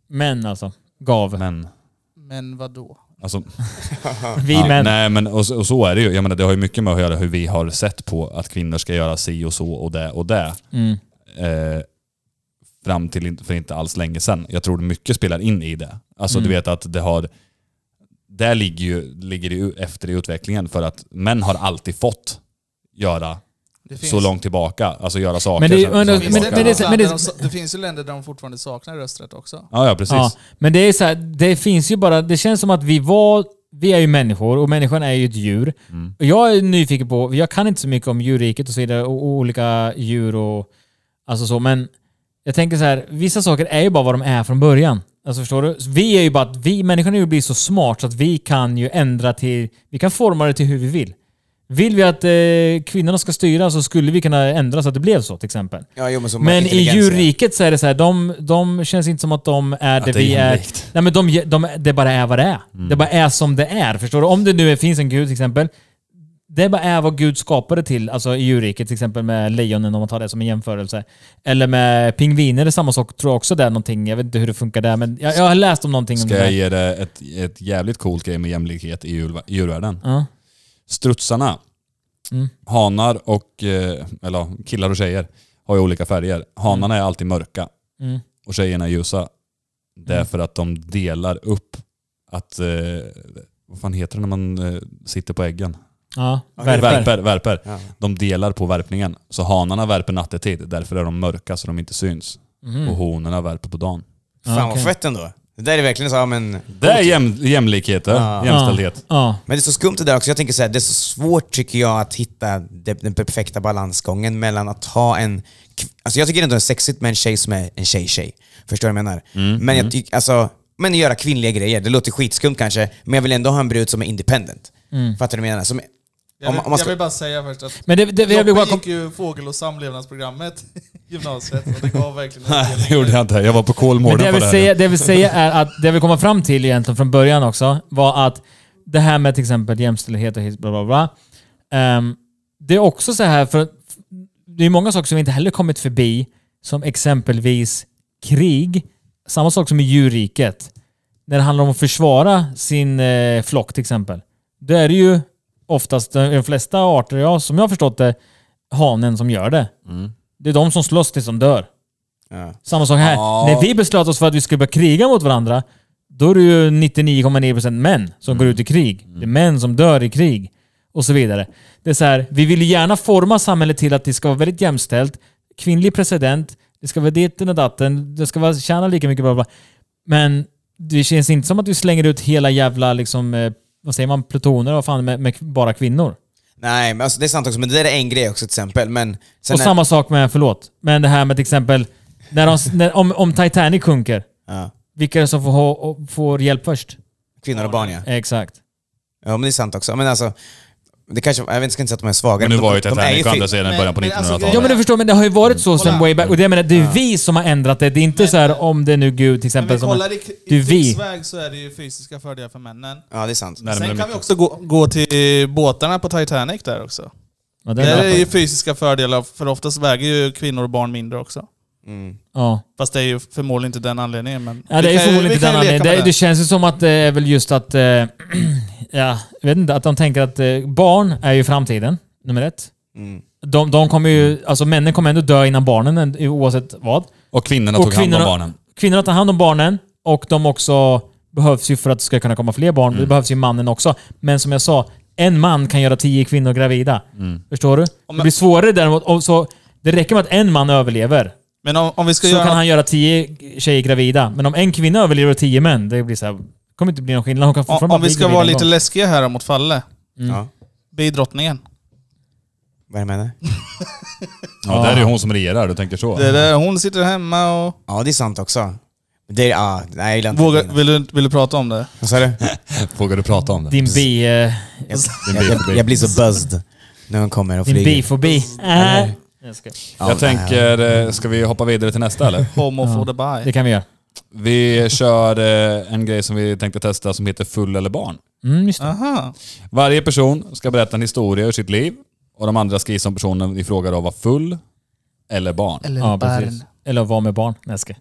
Män alltså. Gav.
Men...
Men vadå?
Alltså,
Vi
ja,
män.
Nej men och, så- och så är det ju. Jag menar det har ju mycket med att göra hur vi har sett på att kvinnor ska göra si och så och det och det.
Mm.
eh, fram till inte- för inte alls länge sedan. Jag tror mycket spelar in i det. Alltså
Mm.
du vet att det har... Där ligger, ju, ligger det ju efter i utvecklingen för att män har alltid fått göra
Det finns,
så långt tillbaka. Alltså göra saker.
Men det är ju-
som- som
men-
vi bakar.
Men, men, det,
men det-
de, det finns ju länder där de fortfarande saknar rösträtt också.
ja, ja, precis.
Ja, men det är så här, det finns ju bara, det känns som att vi var, vi är ju människor och människan är ju ett djur. Och jag är nyfiken på, jag kan inte så mycket om djurriket och så vidare och olika djur och alltså så, men jag tänker så här, vissa saker är ju bara vad de är från början. Alltså förstår du? Vi är ju bara att vi, människan är ju blir så smart så att vi kan ju ändra till, vi kan forma det till hur vi vill. Vill vi att eh, kvinnorna ska styra så skulle vi kunna ändra så att det blev så till exempel.
Ja, jo, men så
Men i
intelligens, ja.
djurriket så är det så här, de, de känns inte som att de är det,
det är
vi är.
jämlikt. Mm.
Nej men de, de, det bara är vad det är. Det bara är som det är. Förstår du? Om det nu är, finns en gud till exempel. Det bara är vad Gud skapade till, alltså i djurriket till exempel med lejonen om man tar det som en jämförelse. Eller med pingviner, det är samma sak tror jag också det är någonting. Jag vet inte hur det funkar där men jag, jag har läst om någonting om
Ska
det. där.
jag ge det ett, ett jävligt coolt grej med jämlikhet i djurva- djurvärlden?
Ja.
Strutsarna,
Mm.
hanar och... eh, Eller killar och tjejer har ju olika färger. Hanarna är alltid mörka.
Mm.
och tjejerna är ljusa. Därför att de delar upp att, eh, vad fan heter det när man eh, sitter på äggen?
Ja, värper.
Värper. värper.
Ja.
De delar på värpningen. Så hanarna värper nattetid, därför är de mörka så de inte syns.
Mhm.
Och honorna värper på dagen.
Fan
okej.
vad fett ändå. Det där är verkligen så, ja, men...
Det är jäm, jämlikhet, ja.
Ja.
jämställdhet.
Ja.
Men det är så skumt det där också. Jag tänker så här, det är så svårt tycker jag att hitta det, den perfekta balansgången mellan att ha en... kv- Alltså jag tycker ändå det är sexigt med en tjej som är en tjej-tjej. Förstår du vad jag menar? men jag tycker, alltså... Men göra kvinnliga grejer, det låter skitskumt kanske, men jag vill ändå ha en brud som är independent. Fattar du vad jag menar? Som,
Jag vill,
om, om man
jag
ska,
vill bara säga först att
Men det, det, jag vill bara
Loppe
kom,
gick ju fågel och samlevnadsprogrammet i gymnasiet och det gav verkligen
Nej, det gjorde jag inte. Jag var
Men
på
det
Kolmården
jag,
på
vill
det här.
säga, det jag vill säga är att det jag vill komma fram till egentligen från början också var att det här med till exempel jämställdhet och hit- bla bla bla. Ehm, det är också så här, för det är många saker som vi inte heller kommit förbi, som exempelvis krig. Samma sak som i djurriket. När det handlar om att försvara sin eh, flock till exempel. Då är det ju oftast, de flesta arter, ja, som jag har förstått det, hanen som gör det.
Mm.
Det är de som slåss tills de dör.
ja.
Samma sak här.
Ja.
När vi beslöt oss för att vi skulle börja kriga mot varandra, då är det ju 99,9% män som
Mm.
går ut i krig. Det är män som dör i krig. Och så vidare. Det är så här, vi vill ju gärna forma samhället till att det ska vara väldigt jämställt. Kvinnlig president, det ska vara ditten och datten, det ska vara tjäna lika mycket, bla bla. bla. Men det känns inte som att vi slänger ut hela jävla, liksom, eh, vad säger man, plutoner vad fan, med, med bara kvinnor.
Nej, men alltså, det är sant också, men det där är en grej också till exempel. Men sen
och
är-
samma sak med, förlåt, men det här med till exempel, när de, när, om, om Titanic sjunker,
ja,
Vilka är det som får, ha, och får hjälp först?
kvinnor och barn ja.
Exakt.
Ja, men det är sant också. Men alltså, det kanske, jag vet inte, ska inte säga att de är svaga.
Men nu
de-
var ju
de- de är
Titanic å
fi-
andra sidan i början på
Men- men alltså,
1900-talet.
Ja men du förstår, men det har ju varit så sen
Kolla.
way back. Och det, jag menar, det är vi som har ändrat det. Det är inte så här om det är nu Gud till
Men vi
exempel som...
kollar i,
det är
i
vi.
krigsväg så är det ju fysiska fördelar för männen.
Ja, det är sant.
Nej, men det är
Sen kan vi
mycket.
också gå, gå till båtarna på Titanic där också.
Ja, det
Där
är
är det
det.
ju fysiska fördelar, för oftast väger ju kvinnor och barn mindre också.
Mm.
Ja.
Fast det är ju förmodligen inte den anledningen. Men
Ja, det
vi
är ju
kan ju-
förmodligen
vi
inte
kan
den
ju leka
anledningen.
med
Det, det känns ju som att det är väl just att... Eh, ja, jag vet inte, att de tänker att eh, barn är ju framtiden, nummer ett.
Mm.
De, de kommer ju, alltså männen kommer ändå dö innan barnen, en- oavsett vad.
Och kvinnorna
Och
tog hand
kvinnorna-
om barnen.
Kvinnorna tar hand om barnen och de också behövs ju för att det ska kunna komma fler barn.
Mm.
Det behövs ju mannen också. Men som jag sa, en man kan göra tio kvinnor gravida.
Mm.
Förstår du? Det blir svårare däremot. Och så, det räcker med att en man överlever.
Men om, om vi ska
Så
göra...
kan han göra tio tjejer gravida. Men om en kvinna överlever och tio män, det blir så här, det kommer inte bli någon skillnad. Hon kan
om,
fortfarande
om
bara
vi
bli
ska
gravid
vara
en
lite
gång.
läskiga här mot Falle.
Ja.
Bidrottningen.
Vad är det med det?
Ja, där är ju hon som regerar, du tänker så.
Det är där hon sitter hemma och...
Ja, det är sant också. Det är, ja, nej, jag gillar inte
Vågar,
det.
vill, du, vill du prata om det?
Vad sa du?
Vågar du prata om det?
Din bi... eh,
Jag,
blir-
jag, jag, jag blir så buzzed när hon kommer och
Din
flyger.
bifobi. Äh. Jag ska-
Ja,
Jag tänker, eh, ska vi hoppa vidare till nästa eller?
Homo for the by.
Det kan vi göra.
Vi kör eh, en grej som vi tänkte testa som heter Full eller barn.
Mm, just det.
Aha.
Varje person ska berätta en historia ur sitt liv och de andra ska gissa om personen i fråga då var full eller barn.
Eller
Ja,
barn.
precis. Eller att vara med barn. Nej, Jag ska.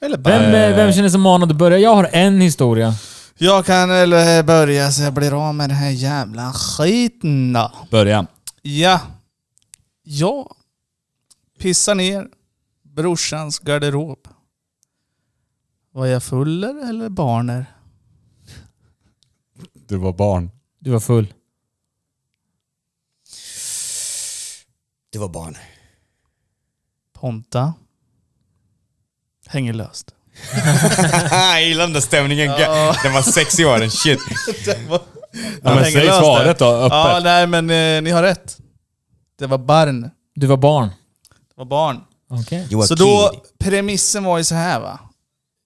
Eller barn.
Vem, eh, vem känner sig manad att börja? Jag har en historia.
Jag kan eller börja så jag blir av med den här jävla skiten då.
Börja.
Ja. Jag pissar ner brorsans garderob. Var jag fuller eller barner?
Du var barn.
Du var full.
Du var barn.
Ponta. Hänger löst.
Ah, jag gillar den där stämningen. Den var sexig var den. Shit.
Ja, men
hänger
säg
löst
svaret då, öppet.
Ja, nej men eh, ni har rätt. Det var barn. Det
Du var barn.
var barn.
Okej.
You were
Så då,
kid.
premissen var ju så här va.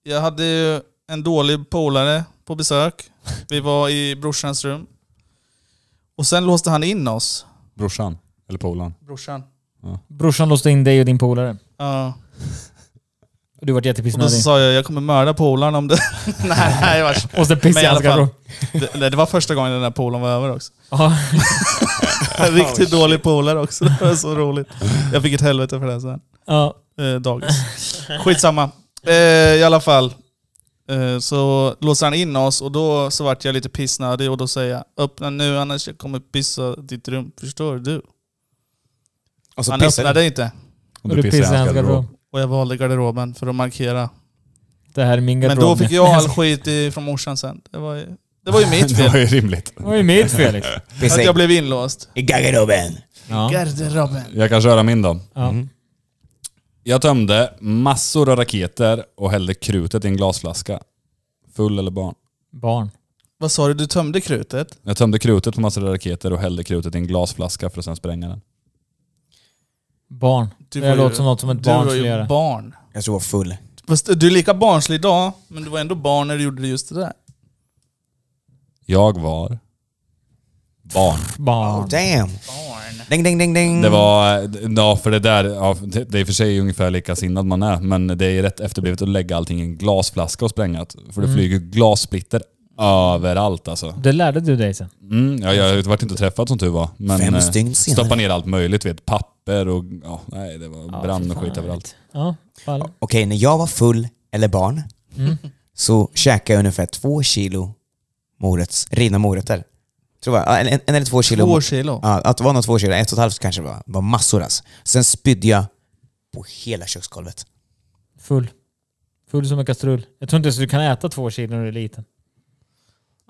Jag hade ju en dålig polare på besök. Vi var i brorsans rum. Och sen låste han in oss.
Brorsan. Eller polaren.
Brorsan.
Brorsan låste in dig och din polare.
Ja.
Och du vart
Och då
jättepissnödig.
så sa jag, jag kommer mörda polaren om det... nej, nej, det var...
Och sen
Men
pissade
i
jag hans
alla fall,
garderob.
det, nej, det var första gången den där polaren var över också.
Ja.
En riktigt dålig polare också. Det var så roligt. Jag fick ett helvete för det sen.
Ja.
Eh, dagis. Skitsamma. Eh, I alla fall. Eh, så låser han in oss och då så vart jag lite pissnödig och då säger jag Öppna nu annars jag kommer pissa ditt rum. Förstår du?
Och så
han
pissade du.
öppnade inte.
Om
Och du pissade i hans garderob.
Och jag valde garderoben för att markera.
Det här är min
Men
garderob.
då fick jag
nu.
all skit i, från morsan sen. Det var ju, det var ju mitt
Det var
fel.
ju rimligt.
Det var ju mitt Felix.
Pissa
Att jag
i-
blev inlåst.
i garderoben.
Ja.
Garderoben.
Jag kan köra min då.
Ja.
Jag tömde massor av raketer och hällde krutet i en glasflaska. Full eller barn?
Barn.
Vad sa du? Du tömde krutet?
Jag tömde krutet på massor av raketer och hällde krutet i en glasflaska för att sen spränga den.
Barn.
Du
det
var ju-
låter som något som ett
Du
barn
var
skulle
ju
göra.
barn.
Jag tror jag var full. Oh,
Fast du är lika barnslig idag, men du var ändå barn när du gjorde just det där.
Jag var barn.
Oh,
Barn.
damn.
Barn.
Ding, ding, ding, ding.
Det var, ja för det där, ja, det det är i och för sig ungefär likasinnad man är, men det är rätt efterblivet att lägga allting i en glasflaska och spränga. För det flyger glassplitter överallt alltså.
Det lärde du dig sen.
Mm, ja, jag har varit inte träffad som tur var. Men
Fem
eh,
stygn senare.
stoppa ner allt möjligt, vet, papper och ja, nej, det var brann och skit överallt.
Ja, fall.
Okej, när jag var full eller barn så käkade jag ungefär två kilo moröts, rivna morötter. Tror jag. Ja, En, en eller två kilo.
Två kilo?
Ja, att det var nog två kilo. Ett och ett halvt kanske det var. Det var massor alltså. Sen spydde jag på hela köksgolvet.
Full. Full som en kastrull. Jag tror inte ens du kan äta två kilo när du är liten.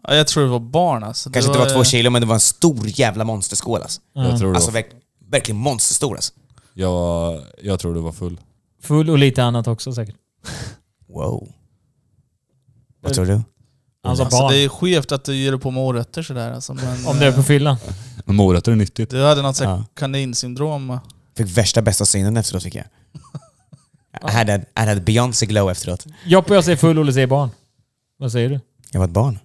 Ja, jag tror det var barn alltså.
Kanske inte var två
eh,
kilo men det var en stor jävla monsterskål alltså.
Jag, tror det
Alltså
var,
verk, verkligen monsterstor alltså.
jag, jag tror du var full.
Full och lite annat också säkert.
Wow. Vad tror du?
Han sa
Alltså,
barn.
det är skevt att du ger dig på morötter sådär alltså. Men,
Om det är på
eh,
fyllan.
Men morötter är nyttigt.
Du hade något sånt
Ja.
kaninsyndrom.
Fick värsta bästa synen efteråt fick jag. I had, a- I had Beyoncé glow efteråt.
Joppe jag säger full, Olle säger barn. Vad säger du?
Jag var ett barn.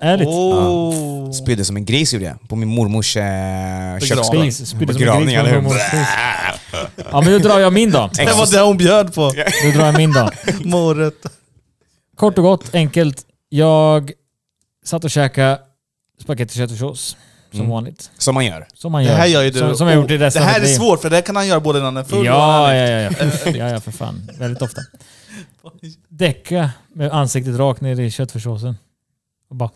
Ärligt?
Oh.
Spydde som en gris gjorde jag. På min mormors eh, köksgolv.
Gris. Spydde som en
Begravning,
gris på
eller hur?
en mormors gris. Ja men nu drar jag min då.
Det var det hon bjöd på.
Nu drar jag min då.
Morötter.
Kort och gott, enkelt. Jag satt och käkade spagetti köttfärssås som vanligt.
Som man gör.
Som man
Mm. Det
gör.
här gör ju du. Oh.
Som, som jag gjort i
det
resten av
här
mitt
är
liv.
svårt, för det här kan han göra både när han är full och när
Ja,
han är
ja, ja, ja. ja, ja för fan. Väldigt ofta. Däcka med ansiktet rakt ner i köttfärssåsen. Och bara...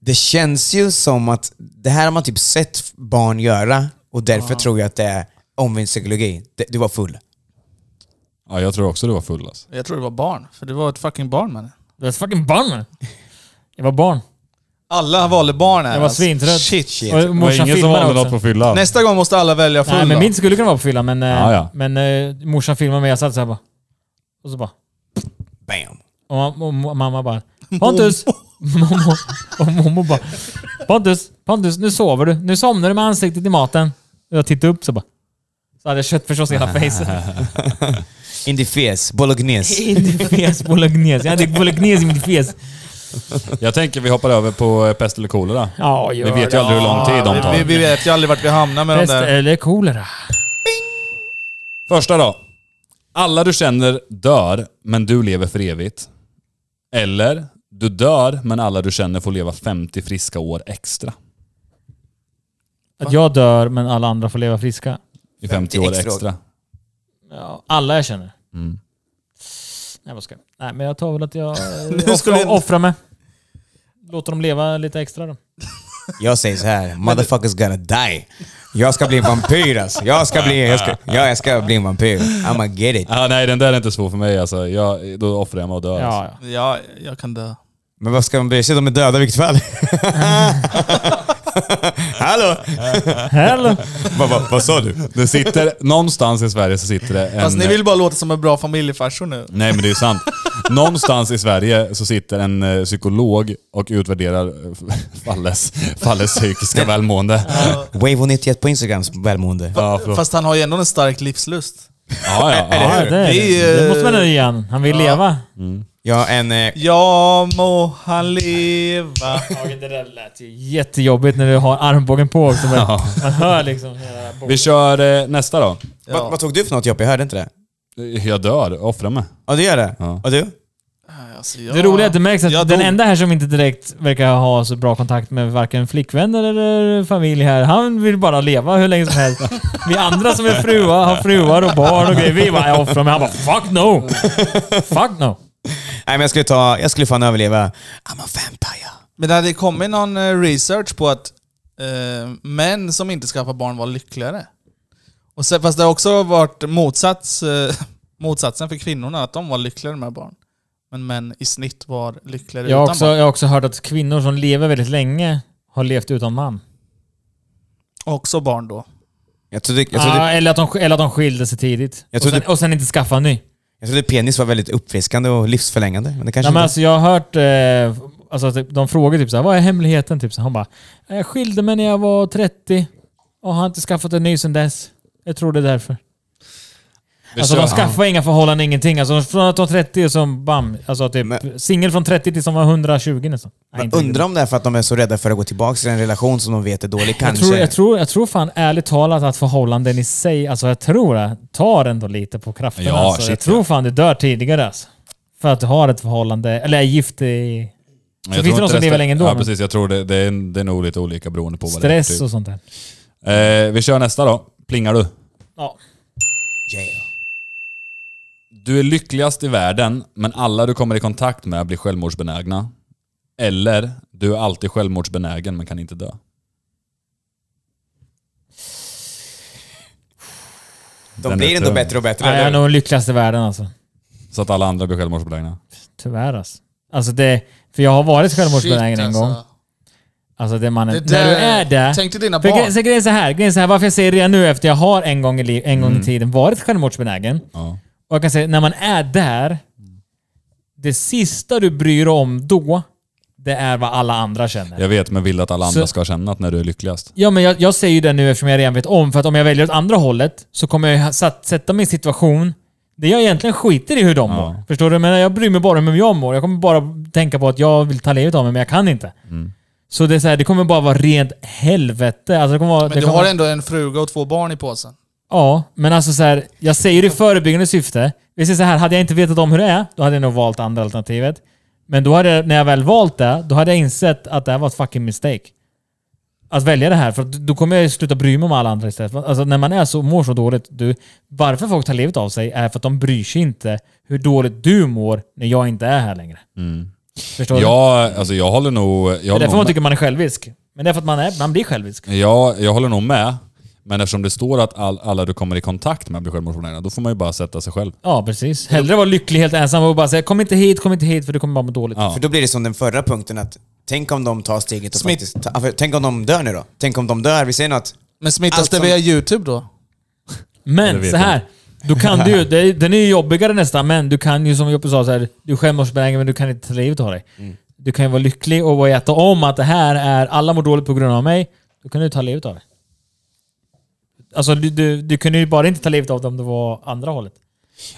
Det känns ju som att det här har man typ sett barn göra och därför tror jag att det är omvänd psykologi. Det- Du var full.
Ja, jag tror också du var full alltså.
Jag tror det var barn, för du var ett fucking barn man.
Du är ett fucking barn man. Jag var barn.
Alla valde barn
Mm.
här.
Jag var
alltså.
svintrött.
Shit.
Shit.
Och
Det var
morsan
ingen som
filmade
valde något på
också.
fyllan.
Nästa gång måste alla välja full
Nej, men
då.
min skulle kunna vara på fyllan, men, eh,
Ja, ja.
men eh, morsan filmade mig. Jag satt såhär bara... Och så bara...
Bam!
Och, mam- och, mo- mamma bara Pontus! Mamma, och mormor bara Pontus, Pontus nu sover du. Nu somnar du med ansiktet i maten. Och jag tittade upp så bara... Så hade jag köttfärssås i hela facet.
In the face, bolognese.
In i fes bolognese. Jag hade bolognese i mitt fes.
Jag tänker vi hoppar över på eh, pest eller kolera.
Ja,
Vi
gör
vet ju
det.
aldrig hur lång tid de
vi,
tar.
vi vet ju aldrig vart vi hamnar med de
Pest
där.
eller kolera?
Första då. Alla du känner dör, men du lever för evigt. Eller, du dör, men alla du känner får leva 50 friska år extra.
Att jag dör men alla andra får leva friska.
I 50 år
50 extra år.
extra.
Ja, alla jag känner. Nej, vad ska jag? Nej, men jag tar väl att jag eh,
skulle
offrar,
jag-
offrar mig. Låter dem leva lite extra då.
Jag säger så här, motherfuckers gonna die. Jag ska bli en vampyr alltså. Jag ska bli, jag ska, ja, jag ska bli en vampyr. I'mma get it.
Ah, nej, den där är inte svår för mig alltså. Jag, då offrar jag mig och dör. Alltså.
Ja, ja.
Ja, jag kan dö.
Men vad ska man bry sig? De är döda i vilket fall. Hallå?
Hello.
Vad va, vad sa du?
Det sitter, någonstans i Sverige så sitter det en...
Fast ni vill bara låta som en bra familjefarsor nu.
Nej men det är ju sant. Någonstans i Sverige så sitter en eh, psykolog och utvärderar eh, Falles, Falles psykiska välmående.
Wave91 på Instagrams välmående.
Ja, förlåt.
Fast han har ju ändå en stark livslust.
ja, ja, ja.
Ja, det, är,
Det är
det.
ju-
det måste man nöja han. Han vill leva.
Ja, en... Eh,
Ja, må han leva.
Det där lät ju jättejobbigt när du har armbågen på också. Men Man hör liksom hela
Vi kör eh, nästa då.
vad, vad tog du för något jobb? Jag hörde inte det.
Jag dör, offra mig.
Alltså,
Ja, du gör det?
Ja.
Och du?
Alltså, jag-
Det roliga är att det märks att
jag
den
dog.
enda här som inte direkt verkar ha så bra kontakt med varken flickvänner eller familj här, han vill bara leva hur länge som helst. Vi andra som är fruar, har fruar och barn och grejer, vi bara jag offrar mig. Han bara fuck no! Fuck no!
Nej men jag skulle ta, jag skulle fan överleva. I'm a vampire.
Men det hade kommit någon eh, research på att eh, män som inte skaffar barn var lyckligare. Och sen, fast det har också varit motsats, eh, motsatsen för kvinnorna, att de var lyckligare med barn. Men män i snitt var lyckligare
Jag har
utan
också,
barn.
jag har också hört att kvinnor som lever väldigt länge har levt utan man.
Också barn då.
Jag trodde, jag trodde,
Ah, eller, att de, eller att de skilde sig tidigt.
Jag
Och
trodde-
sen, och sen inte skaffa en ny.
jag trodde penis var väldigt uppfriskande och livsförlängande. Men det kanske
Nej, men
inte-
alltså, jag har hört... Eh, alltså, typ, de frågar typ såhär, vad är hemligheten? Typ, så han bara, jag skilde mig när jag var 30 och har inte skaffat en ny sedan dess. Jag tror det är därför.
Vi
Alltså
kör-
de skaffar inga förhållanden, ingenting. Alltså från att de var 30 och som bam. Alltså typ
Men-
singel från 30 till som var 120 nästan. Nej,
Men
inte riktigt.
undrar om det är för att de är så rädda för att gå tillbaka till en relation som de vet är dålig
jag
kanske.
tror, jag, tror, jag tror fan ärligt talat att förhållanden i sig, alltså jag tror det, tar ändå lite på krafterna.
Ja,
alltså. Jag
shit,
tror
ja.
fan du dör tidigare alltså. För att du har ett förhållande, eller är gift i
Jag
finns
tror
det någon
inte
som lever
resten-
länge ändå,
Ja
men-
precis, jag tror det, det, är, det är nog lite olika beroende på vad det är.
typ.
typ.
stress och sånt där.
Eh, vi kör nästa då. Plingar du?
Ja.
Yeah.
Du är lyckligast i världen, men alla du kommer i kontakt med blir självmordsbenägna. Eller, du är alltid självmordsbenägen men kan inte dö.
De
Den är
blir ändå
tung.
bättre och bättre.
Nej, jag är
eller?
nog den lyckligaste i världen alltså.
Så att alla andra blir självmordsbenägna.
Tyvärr alltså. Alltså det... För jag har varit självmordsbenägen
Shit, alltså.
en gång. Alltså det mannen...
Det
när
där-
du är det...
Tänk dig dina
För gre-
barn.
så grejen är så här, grejen är så här, varför jag säger det nu efter jag har en gång i, li- en gång i
Mm.
tiden varit självmordsbenägen.
Ja.
Och jag kan säga, när man är där, det sista du bryr dig om då, det är vad alla andra känner.
Jag vet, men vill att alla andra
Så-
ska känna att när du är lyckligast.
Ja, men jag, jag säger ju det nu eftersom jag redan vet om, för att om jag väljer åt andra hållet så kommer jag ju ha- satt, sätta mig i en situation där jag egentligen skiter i hur de
Ja.
mår. Förstår du? Men jag bryr mig bara om hur jag mår. Jag kommer bara tänka på att jag vill ta livet av mig, men jag kan inte.
Mm.
Så det, är så här, det kommer bara vara rent helvete. Alltså, det kommer vara, det
Men du
kommer,
har ändå en fruga och två barn i påsen.
Ja, men alltså så här, jag säger det i förebyggande syfte. Vi säger så här, hade jag inte vetat om hur det är, då hade jag nog valt andra alternativet. Men då hade jag, när jag väl valt det, då hade jag insett att det här var ett fucking mistake. att välja det här. För att då kommer jag ju sluta bry mig om alla andra istället. Alltså när man är så, mår så dåligt. Du, varför folk tar livet av sig är för att de bryr sig inte hur dåligt du mår när jag inte är här längre. Förstår du?
Mm. Ja, alltså jag håller nog... Jag
Det är därför
håller nog
man
med,
tycker man är självisk. Men det är för att man, är, man blir självisk.
ja, jag håller nog med. Men eftersom det står att all, alla du kommer i kontakt med blir självmordsmotionärer, då får man ju bara sätta sig själv.
Ja, precis. Hellre vara lycklig helt ensam och bara säga kom inte hit, kom inte hit för du kommer bara må dåligt.
Ja.
För då blir det som den förra punkten att tänk om de tar steget och
Smitt.
faktiskt... Ta, för, tänk om de dör nu då? Tänk om de dör? Vi säger något.
Men smittas
Allt
det
som-
via YouTube då?
Det
Men
vet
så här. Då kan du ju, det- den är ju jobbigare nästan, men du kan ju som Joppe sa, så här, du är självmordsbenägen men du kan inte ta livet av dig. Du kan ju vara lycklig och veta om att det här är, alla mår dåligt på grund av mig. Då kan du ta livet av dig. Alltså du, du, du kunde ju bara inte ta livet av dig om det var andra hållet.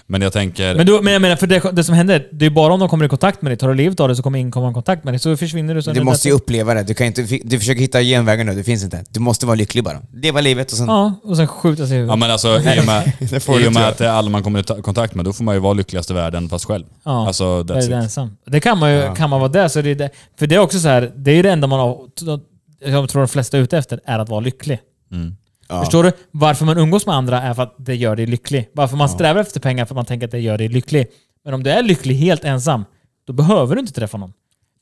Men jag tänker...
Men, du, men jag menar, för det, det som händer, det är bara om de kommer i kontakt med dig. Tar du livet av dig så kommer ingen komma i kontakt med dig. Så försvinner du. sen
Du
är
måste ju
nästa-
uppleva det. Du, kan inte, du försöker hitta genvägar nu, det finns inte. Du måste vara lycklig bara. Leva livet och sen...
Ja, och sen skjuta sig i
ja
huvudet.
men alltså i och med,
Det får du
i och
inte
med
göra.
att det är alla man kommer i ta- kontakt med, då får man ju vara lyckligast i världen fast själv.
Ja,
alltså
Väldigt
that's it.
ensam. Det kan man ju, kan man vara där så är det, det För det är också så här, det är ju det enda man har, jag tror de flesta är ute efter, är att vara lycklig.
Ja.
Förstår du? Varför man umgås med andra är för att det gör dig lycklig. Varför man strävar efter pengar för att man tänker att det gör dig lycklig. Men om du är lycklig helt ensam, då behöver du inte träffa någon.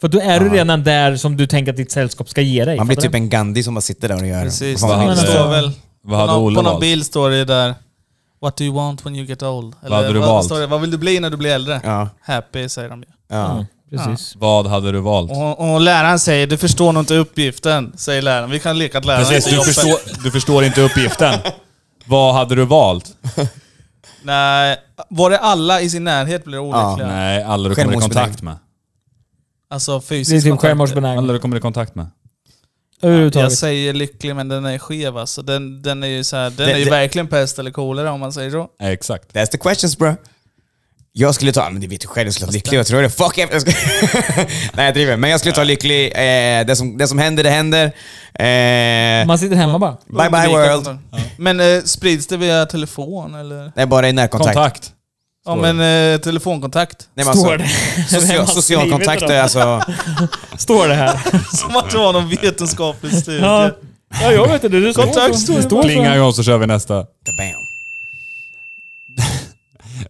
För då är du redan där som du tänker att ditt sällskap ska ge dig.
Man blir
Fattar
typ en Gandhi som bara sitter där och gör...
Precis.
vad fan
Vad
Det
man
hade-
vill.
alltså-
står väl...
Vad hade
på någon,
Olle
på någon
valt?
bild står det där... What do you want when you get old? Eller
hade du
vad,
valt?
Står det, vad vill du bli när du blir äldre?
Ja.
Happy, säger de ju.
du?
ja.
Ja, Mm, precis.
Vad hade du valt?
Och, och läraren säger du förstår nog inte uppgiften, säger läraren. Vi kan leka att läraren
Precis,
inte
du
jobbar.
förstår, du förstår inte uppgiften. Vad hade du valt?
Nej, var det alla i sin närhet blir olyckliga?
Nej, alla du kommer i kontakt med.
Alltså
Det är
fysiskt
typ självmordsbenägen.
Alla du kommer i kontakt med.
Jag
Överhuvudtaget.
säger lycklig men den är skev alltså. Den, den är ju, så här, den
Det-
är ju
det-
verkligen pest eller kolera om man säger så.
Eh, Exakt.
That's the questions bro. Jag skulle ta, men det vet du själv, jag skulle ta lycklig, vad tror du? Fuck jag ska... Nej jag driver, men jag skulle ta lycklig, eh, det, som, det som händer det händer. Eh,
Man sitter hemma bara.
bye bye
Undvika
world.
kontakt. Men eh, sprids det via telefon eller?
Nej bara i närkontakt.
Kontakt.
Ja men eh, telefonkontakt.
Nej, men alltså,
Står det?
Social,
Vem har
social
skrivit
kontakt
det då?
är alltså...
Står det här?
Som att det var någon vetenskaplig studie.
Ja, ja jag vet inte. Det står
Kontakt
så.
står
Det
det
står
Plinga
så.
igång så kör vi nästa.
Bam.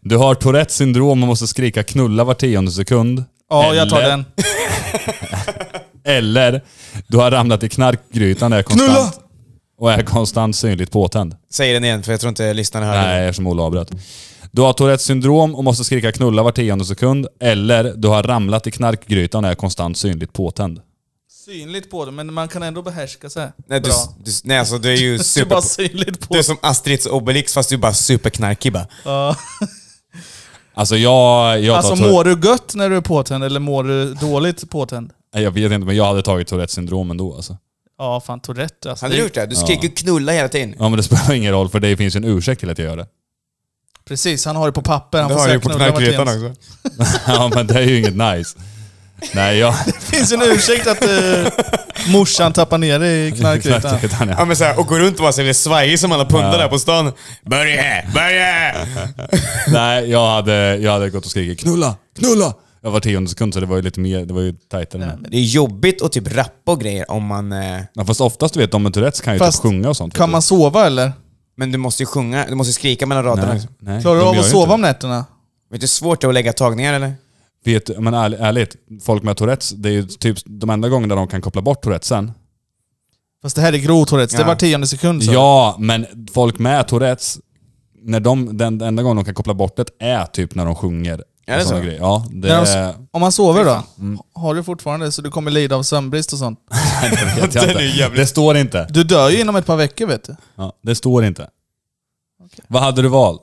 Du har Tourettes syndrom och måste skrika knulla var tionde sekund.
Ja, jag tar
Eller-
den.
Eller, du har ramlat i knarkgrytan och är konstant,
Knulla!
och är konstant synligt påtänd.
Säg den igen, för jag tror inte lyssnarna hörde.
Nej, eftersom Olle avbröt. Du har Tourettes syndrom och måste skrika knulla var tionde sekund. Eller, du har ramlat i knarkgrytan och är konstant synligt påtänd.
Synligt på det, men man kan ändå behärska sig.
Nej, du,
Bra.
du, nej alltså du är ju
Det är
super...
bara synligt på
Du är som Astrids Obelix fast du är bara superknarkig bara.
Ja.
Alltså jag... jag tar
Alltså
Tourette-
mår du gött när du är påtänd eller mår du dåligt påtänd?
Nej, Jag vet inte, men jag hade tagit Tourettes syndrom ändå alltså.
Ja, fan Tourette alltså.
Hade du gjort det? Du skrek ju knulla hela tiden.
Ja men det spelar ingen roll för det finns ju en ursäkt till att jag gör det.
Precis, han har det på papper. Han
Det
får
har du
säga
ju på
knulla
knarkgrytan
Mattias.
också.
ja men det är ju inget nice. Nej jag...
Det finns en ursäkt att eh, morsan tappar ner dig i knarkrutan.
Knarkgrytan,
Ja
ja.
men såhär, och går runt och bara ser lite svajig som alla pundare där på stan. Börje! här, Börje! här.
Nej jag hade, jag hade gått och skrikit knulla, knulla! Jag var tionde sekund så det var ju lite mer, det var ju tajtare än det.
Det är jobbigt att typ rappa och grejer om man... eh,
Ja, fast oftast du vet, de med Tourettes kan ju
Fast
typ sjunga och sånt. vet
Kan
du.
man sova eller?
Men du måste ju sjunga, du måste skrika mellan raderna.
Nej,
Vet
nej,
Klarar du
de
av
gör
att
ju
sova
inte
om nätterna?
du hur svårt det är att lägga tagningar eller?
det. Vet du, men ärligt, ärligt, folk med Tourettes, det är ju typ de enda gångerna de kan koppla bort Tourettesen.
Fast det här är grov Tourettes, det
Ja.
är var tionde sekund så.
Ja, men folk med Tourettes, när de, den enda gången de kan koppla bort det är typ när de sjunger.
Är det
och såna
så?
Grejer. Ja, det
När de s-
är...
Om man sover då?
Mm.
Har du fortfarande så du kommer lida av sömnbrist och sånt?
Det vet jag
Den
inte.
är jävligt-
Det står inte.
Du dör ju inom ett par veckor vet du.
Ja, det står inte. Vad hade du valt?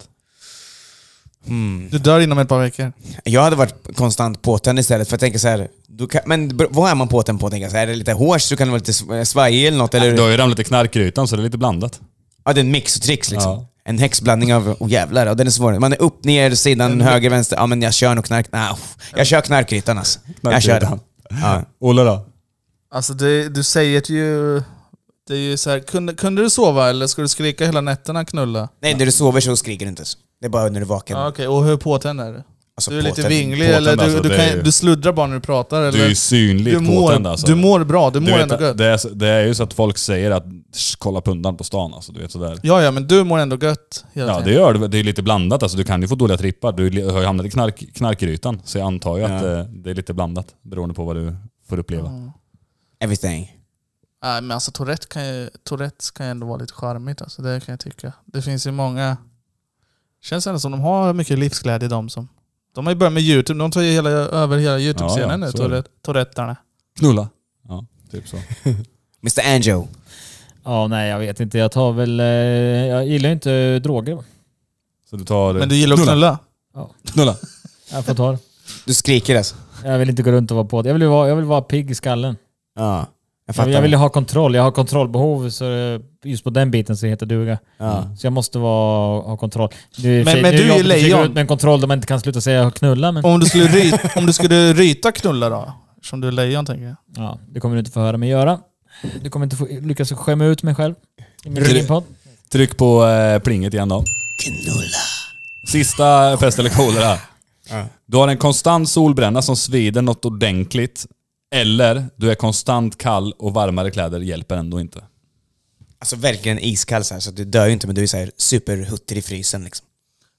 Du dör inom ett par veckor.
Jag hade varit konstant påtänd istället för jag tänker såhär... du kan- Men br- vad är man påtänd på? Tänker jag så här, är det lite hårs så kan det vara lite sv- eh, svajig eller något. Eller,
Du har ju ramlat i knarkgrytan så det är lite blandat.
Ja, det är en mix och tricks liksom.
Ja.
En häxblandning av, oh jävlar, och den är svår. Man är upp, ner, sidan,
Mm.
höger, vänster. Ja men jag kör nog knark... Nej, uff. jag kör knarkrytan alltså. Jag kör den.
Knarkrytan.
Ja.
Olle då?
Alltså det, du säger det ju... Det är ju så här, kunde, kunde du sova eller ska du skrika hela nätterna knulla?
Mm.
Nej, när du sover så skriker du inte. alltså. Det är bara när du är vaken.
Ja, Okej, och hur påtänd är du?
Alltså,
Du är lite
påtänd.
vinglig,
påtänd
eller du,
alltså,
du,
det är ju-
kan, du sluddrar bara när du pratar. Eller?
Du är ju synligt
du mår,
påtänd alltså.
du mår bra, du mår
Du vet,
ändå gött.
det, är, så- det är ju så att folk säger att "Sch, kolla pundan på stan alltså, du vet sådär.
Ja, ja, men du mår ändå gött. hela
Ja
tiden.
det gör det. Det är lite blandat alltså. Du kan ju få dåliga trippar. Du li- har ju hamnat i knark, knarkgrytan. Så jag antar ju att
Ja.
eh, det är lite blandat beroende på vad du får uppleva.
Mm.
Everything.
Nej, men alltså Tourette kan ju, Tourettes kan ju ändå vara lite charmigt. Alltså, det kan jag tycka. Det finns ju många... känns ändå som de har mycket livsglädje de som... De har ju börjat med YouTube. De tar ju hela, över hela YouTube-scenen
Ja, ja,
nu,
så är det.
Tourette, Tourettarna.
Knulla. Ja, typ så.
Mr Angel.
Ja, nej jag vet inte. Jag tar väl... eh, Jag gillar ju inte droger. va?
Så du tar... eh,
Men du gillar att knulla?
Knulla.
Jag får ta det.
Du skriker alltså.
Jag vill inte gå runt och vara på det. Jag vill ju vara, jag vill vara pigg i skallen.
Ja. Jag
Jag,
fattar.
jag vill ju ha kontroll. Jag har kontrollbehov, så eh, just på den biten så heter det duga.
ja.
Så jag måste vara, ha kontroll. Du,
Men- men du är ju lejon.
Med en kontroll där man inte kan sluta säga knulla, men...
Om du skulle, ry, om du skulle ryta knulla då? Som du är lejon tänker
Mm.
jag.
Ja, det kommer du inte få höra mig göra. Du kommer inte få lyckas skämma ut mig själv i min
Är det-
egen podd.
Tryck på eh, plinget igen då.
Knulla.
Sista fest eller kolera. Du har en konstant solbränna som svider något ordentligt. Eller du är konstant kall och varmare kläder hjälper ändå inte.
Alltså verkligen iskall så här, så att du dör ju inte men du är så här superhutter i frysen liksom.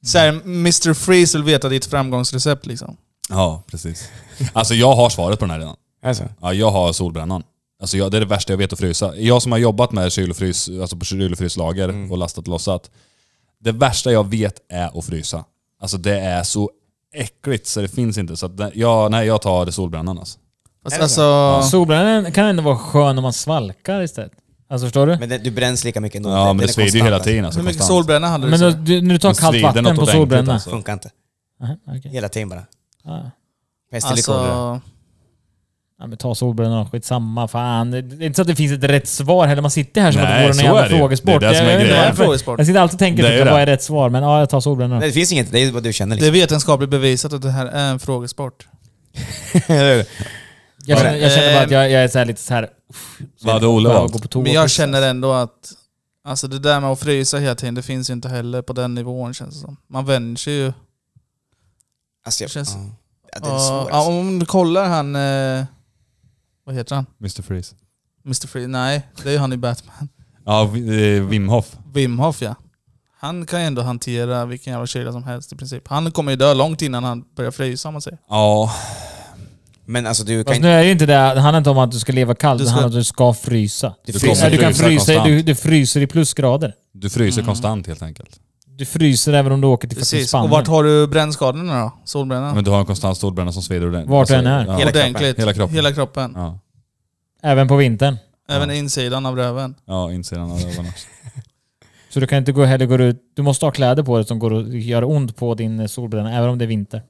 Så här, Mr Freeze vill veta ditt framgångsrecept liksom.
Ja, precis. Alltså jag har svaret på den här redan.
Alltså.
Ja, jag har solbrännan. Alltså jag, det är det värsta jag vet att frysa. Jag som har jobbat med kyl och frys, alltså på kyl och fryslager
Mm.
och lastat och lossat. Det värsta jag vet är att frysa. Alltså det är så äckligt så det finns inte. Så att det, jag, nej, jag tar solbrännan alltså.
Fast,
Är det så?
alltså,
Solbrännan kan ändå vara skön om man svalkar istället. Alltså förstår du?
Men det, du bränns lika mycket ändå.
Ja,
Den-
men
den
det
är
svider ju
konstant,
hela
alltså.
tiden. Alltså,
hur mycket
konstant.
solbränna hade du?
Men
så?
då, du, när du tar
Det
kallt
svider något
vatten på
ordentligt,
solbränna.
alltså.
Funkar inte.
Aha, okej.
Hela tiden bara.
Ja.
Pest eller kolera.
alltså,
Ja, men ta solbrännan, skitsamma. Fan. Det det är inte så att det finns ett rätt svar heller. Man sitter här som
Nej,
att det vore
så
någon
är
jävla
det ju.
frågesport.
Det är det som är
Jag vet inte
grejen.
Det är en
varför.
frågesport.
Jag sitter alltid och tänker
Det är
typ,
det.
vad är rätt svar? Men ja, jag tar solbrännan.
Nej det finns inget, det är ju vad du känner
det är
liksom.
vetenskapligt bevisat att det här är en frågesport.
Jag känner, jag känner bara att
Eh,
jag, jag är så här lite så här... uff, så
Vad hade Olle
bara
valt?
gå på toa
Men
och
jag
pissa.
känner ändå att alltså det där med att frysa hela tiden, det finns ju inte heller på den nivån känns det som. Man vänjer sig ju.
alltså, jag,
Känns-
ja. ja, det är svårt.
Ja,
Alltså.
om du kollar han... Eh, vad heter han?
Mr Freeze.
Mr Free? Nej, det är ju han i Batman.
Ja, vi- eh, Wim Hof.
Wim Hof ja. Han kan ju ändå hantera vilken jävla kyla som helst i princip. Han kommer ju dö långt innan han börjar frysa om man säger.
Ja,
Men alltså du
Fast
kan
nu är det ju inte det, det handlar inte om att du ska leva kallt,
Du
det
ska-
handlar om att du ska frysa.
du
du
Ja,
fryser. Mm.
kommer-
du, kan
frysa
frysa,
konstant.
du, du fryser i plusgrader.
du fryser konstant helt enkelt.
Du fryser även om du åker till fucking
Precis. Och
Spanien.
vart har du brännskadorna då? Solbrännan?
Men du har en konstant solbränna som svider ordentligt. Alltså,
Vart du än är.
Ja.
Hela kroppen.
Ordentligt.
Hela kroppen.
Hela kroppen.
Ja.
Även på vintern.
Även insidan av röven.
Ja, insidan av ögonen också.
Så du kan inte gå heller gå ut... Du måste ha kläder på dig som går och gör ont på din eh, solbränna, även om det är vinter.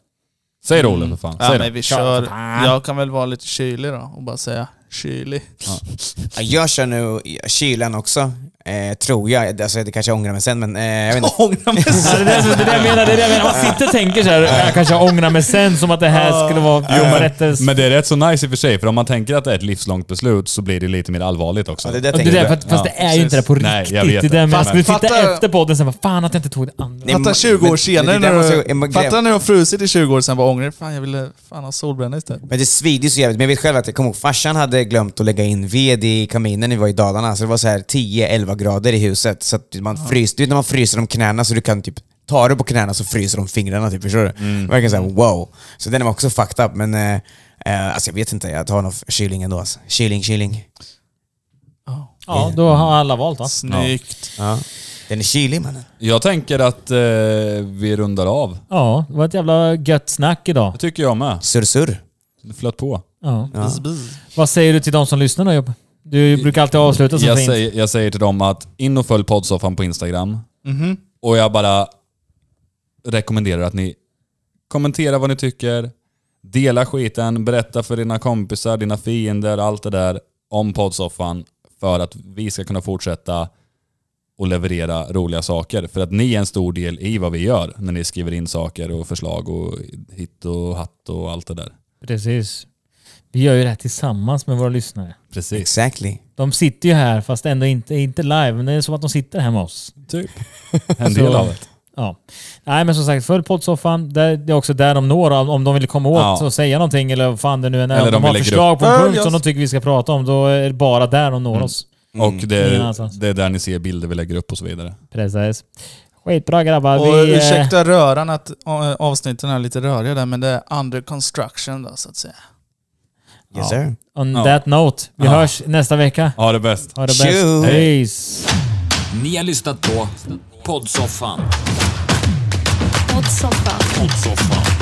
Säg det Olle för fan.
Ja,
Säg
men
det.
vi
Kör
kör.
för fan.
Jag kan väl vara lite kylig då och bara säga kylig.
Ja, Jag kör nu kylan också. Eh, tror jag. Alltså det kanske jag ångrar mig sen men eh, jag vet inte.
Ångrar mig
Ja, det, är det, som- det är det jag menar, det är det jag menar. Man sitter och tänker såhär, jag kanske ångrar mig sen som att det här skulle vara
Jo, men,
rättens...
men det är rätt så nice i och för sig, för om man tänker att det är ett livslångt beslut så blir det lite mer allvarligt också.
Ja, det är det
Och
jag
det där,
tänker.
fast, fast det är ju inte det på riktigt.
Nej, jag vet
det. Där
det.
med,
Fast-
skulle sitta
fatta-
efter podden sen bara, fan att jag inte tog det andra.
Nej,
Fatta
men-
20
men-
år
men det
senare
där
när
måste
du,
jag- man-
Fatta när du har frusit i 20 år sen bara ångrar Fan jag ville fan ha solbränna istället.
Men det svider ju så jävligt. Men jag vet själv att jag kommer ihåg farsan hade glömt att lägga in ved i kaminen när vi var i Dalarna. Så det var så här 10-11 grader i huset. Så att man fryser, du vet när man fryser om knäna så du kan typ ta det på knäna så fryser de fingrarna typ, förstår du?
Mm.
Verkligen såhär wow. Så den är också fucked up men eh, eh, alltså jag vet inte, jag tar nog kyling ändå alltså. Kyling, kyling.
Ja, då har alla valt va?
Snyggt.
Ja. Den är kylig mannen.
Jag tänker att eh, vi rundar av.
Ja, det var ett jävla gött snack idag.
Det tycker jag med.
Surr-surr.
Det flöt på.
Ja.
Bzz, bzz.
Vad säger du till de som lyssnar då Jobb? Du brukar alltid avsluta så
Jag
fint.
säger, jag säger till dem att in och följ poddsoffan på Instagram.
Mm-hmm.
Och jag bara rekommenderar att ni kommenterar vad ni tycker, dela skiten, berätta för dina kompisar, dina fiender, allt det där om poddsoffan för att vi ska kunna fortsätta och leverera roliga saker. För att ni är en stor del i vad vi gör när ni skriver in saker och förslag och hit och hatt och allt det där.
Precis. Vi gör ju det här tillsammans med våra lyssnare.
Precis.
Exactly.
De sitter ju här fast ändå inte, inte live, men det är som att de sitter här med oss.
Typ. En del
Så-
av det.
Ja. Nej men som sagt, följ poddsoffan. Där- Det är också där de når om- om de vill komma åt
Ja.
och säga någonting eller vad fan det nu än är.
Eller
om de
de
har
lägger
förslag på en
Följ
punkt som
oss.
de tycker vi ska prata om, då är det bara där de
Mm.
når oss.
Och det
Ingen
är,
annanstans.
det är där ni ser bilder vi lägger upp och så vidare.
Precis. Skitbra grabbar.
Och
vi, eh,
ursäkta röran att eh, avsnitten är lite röriga där, men det är under construction då, så att säga.
Yes
Ja.
sir.
On
Ja.
that note, vi
Ja.
hörs nästa vecka.
Ha det bäst.
Ha det bäst.
Tjo!
Peace!
Ni har lyssnat på Poddsoffan.
Poddsoffan.
Poddsoffan.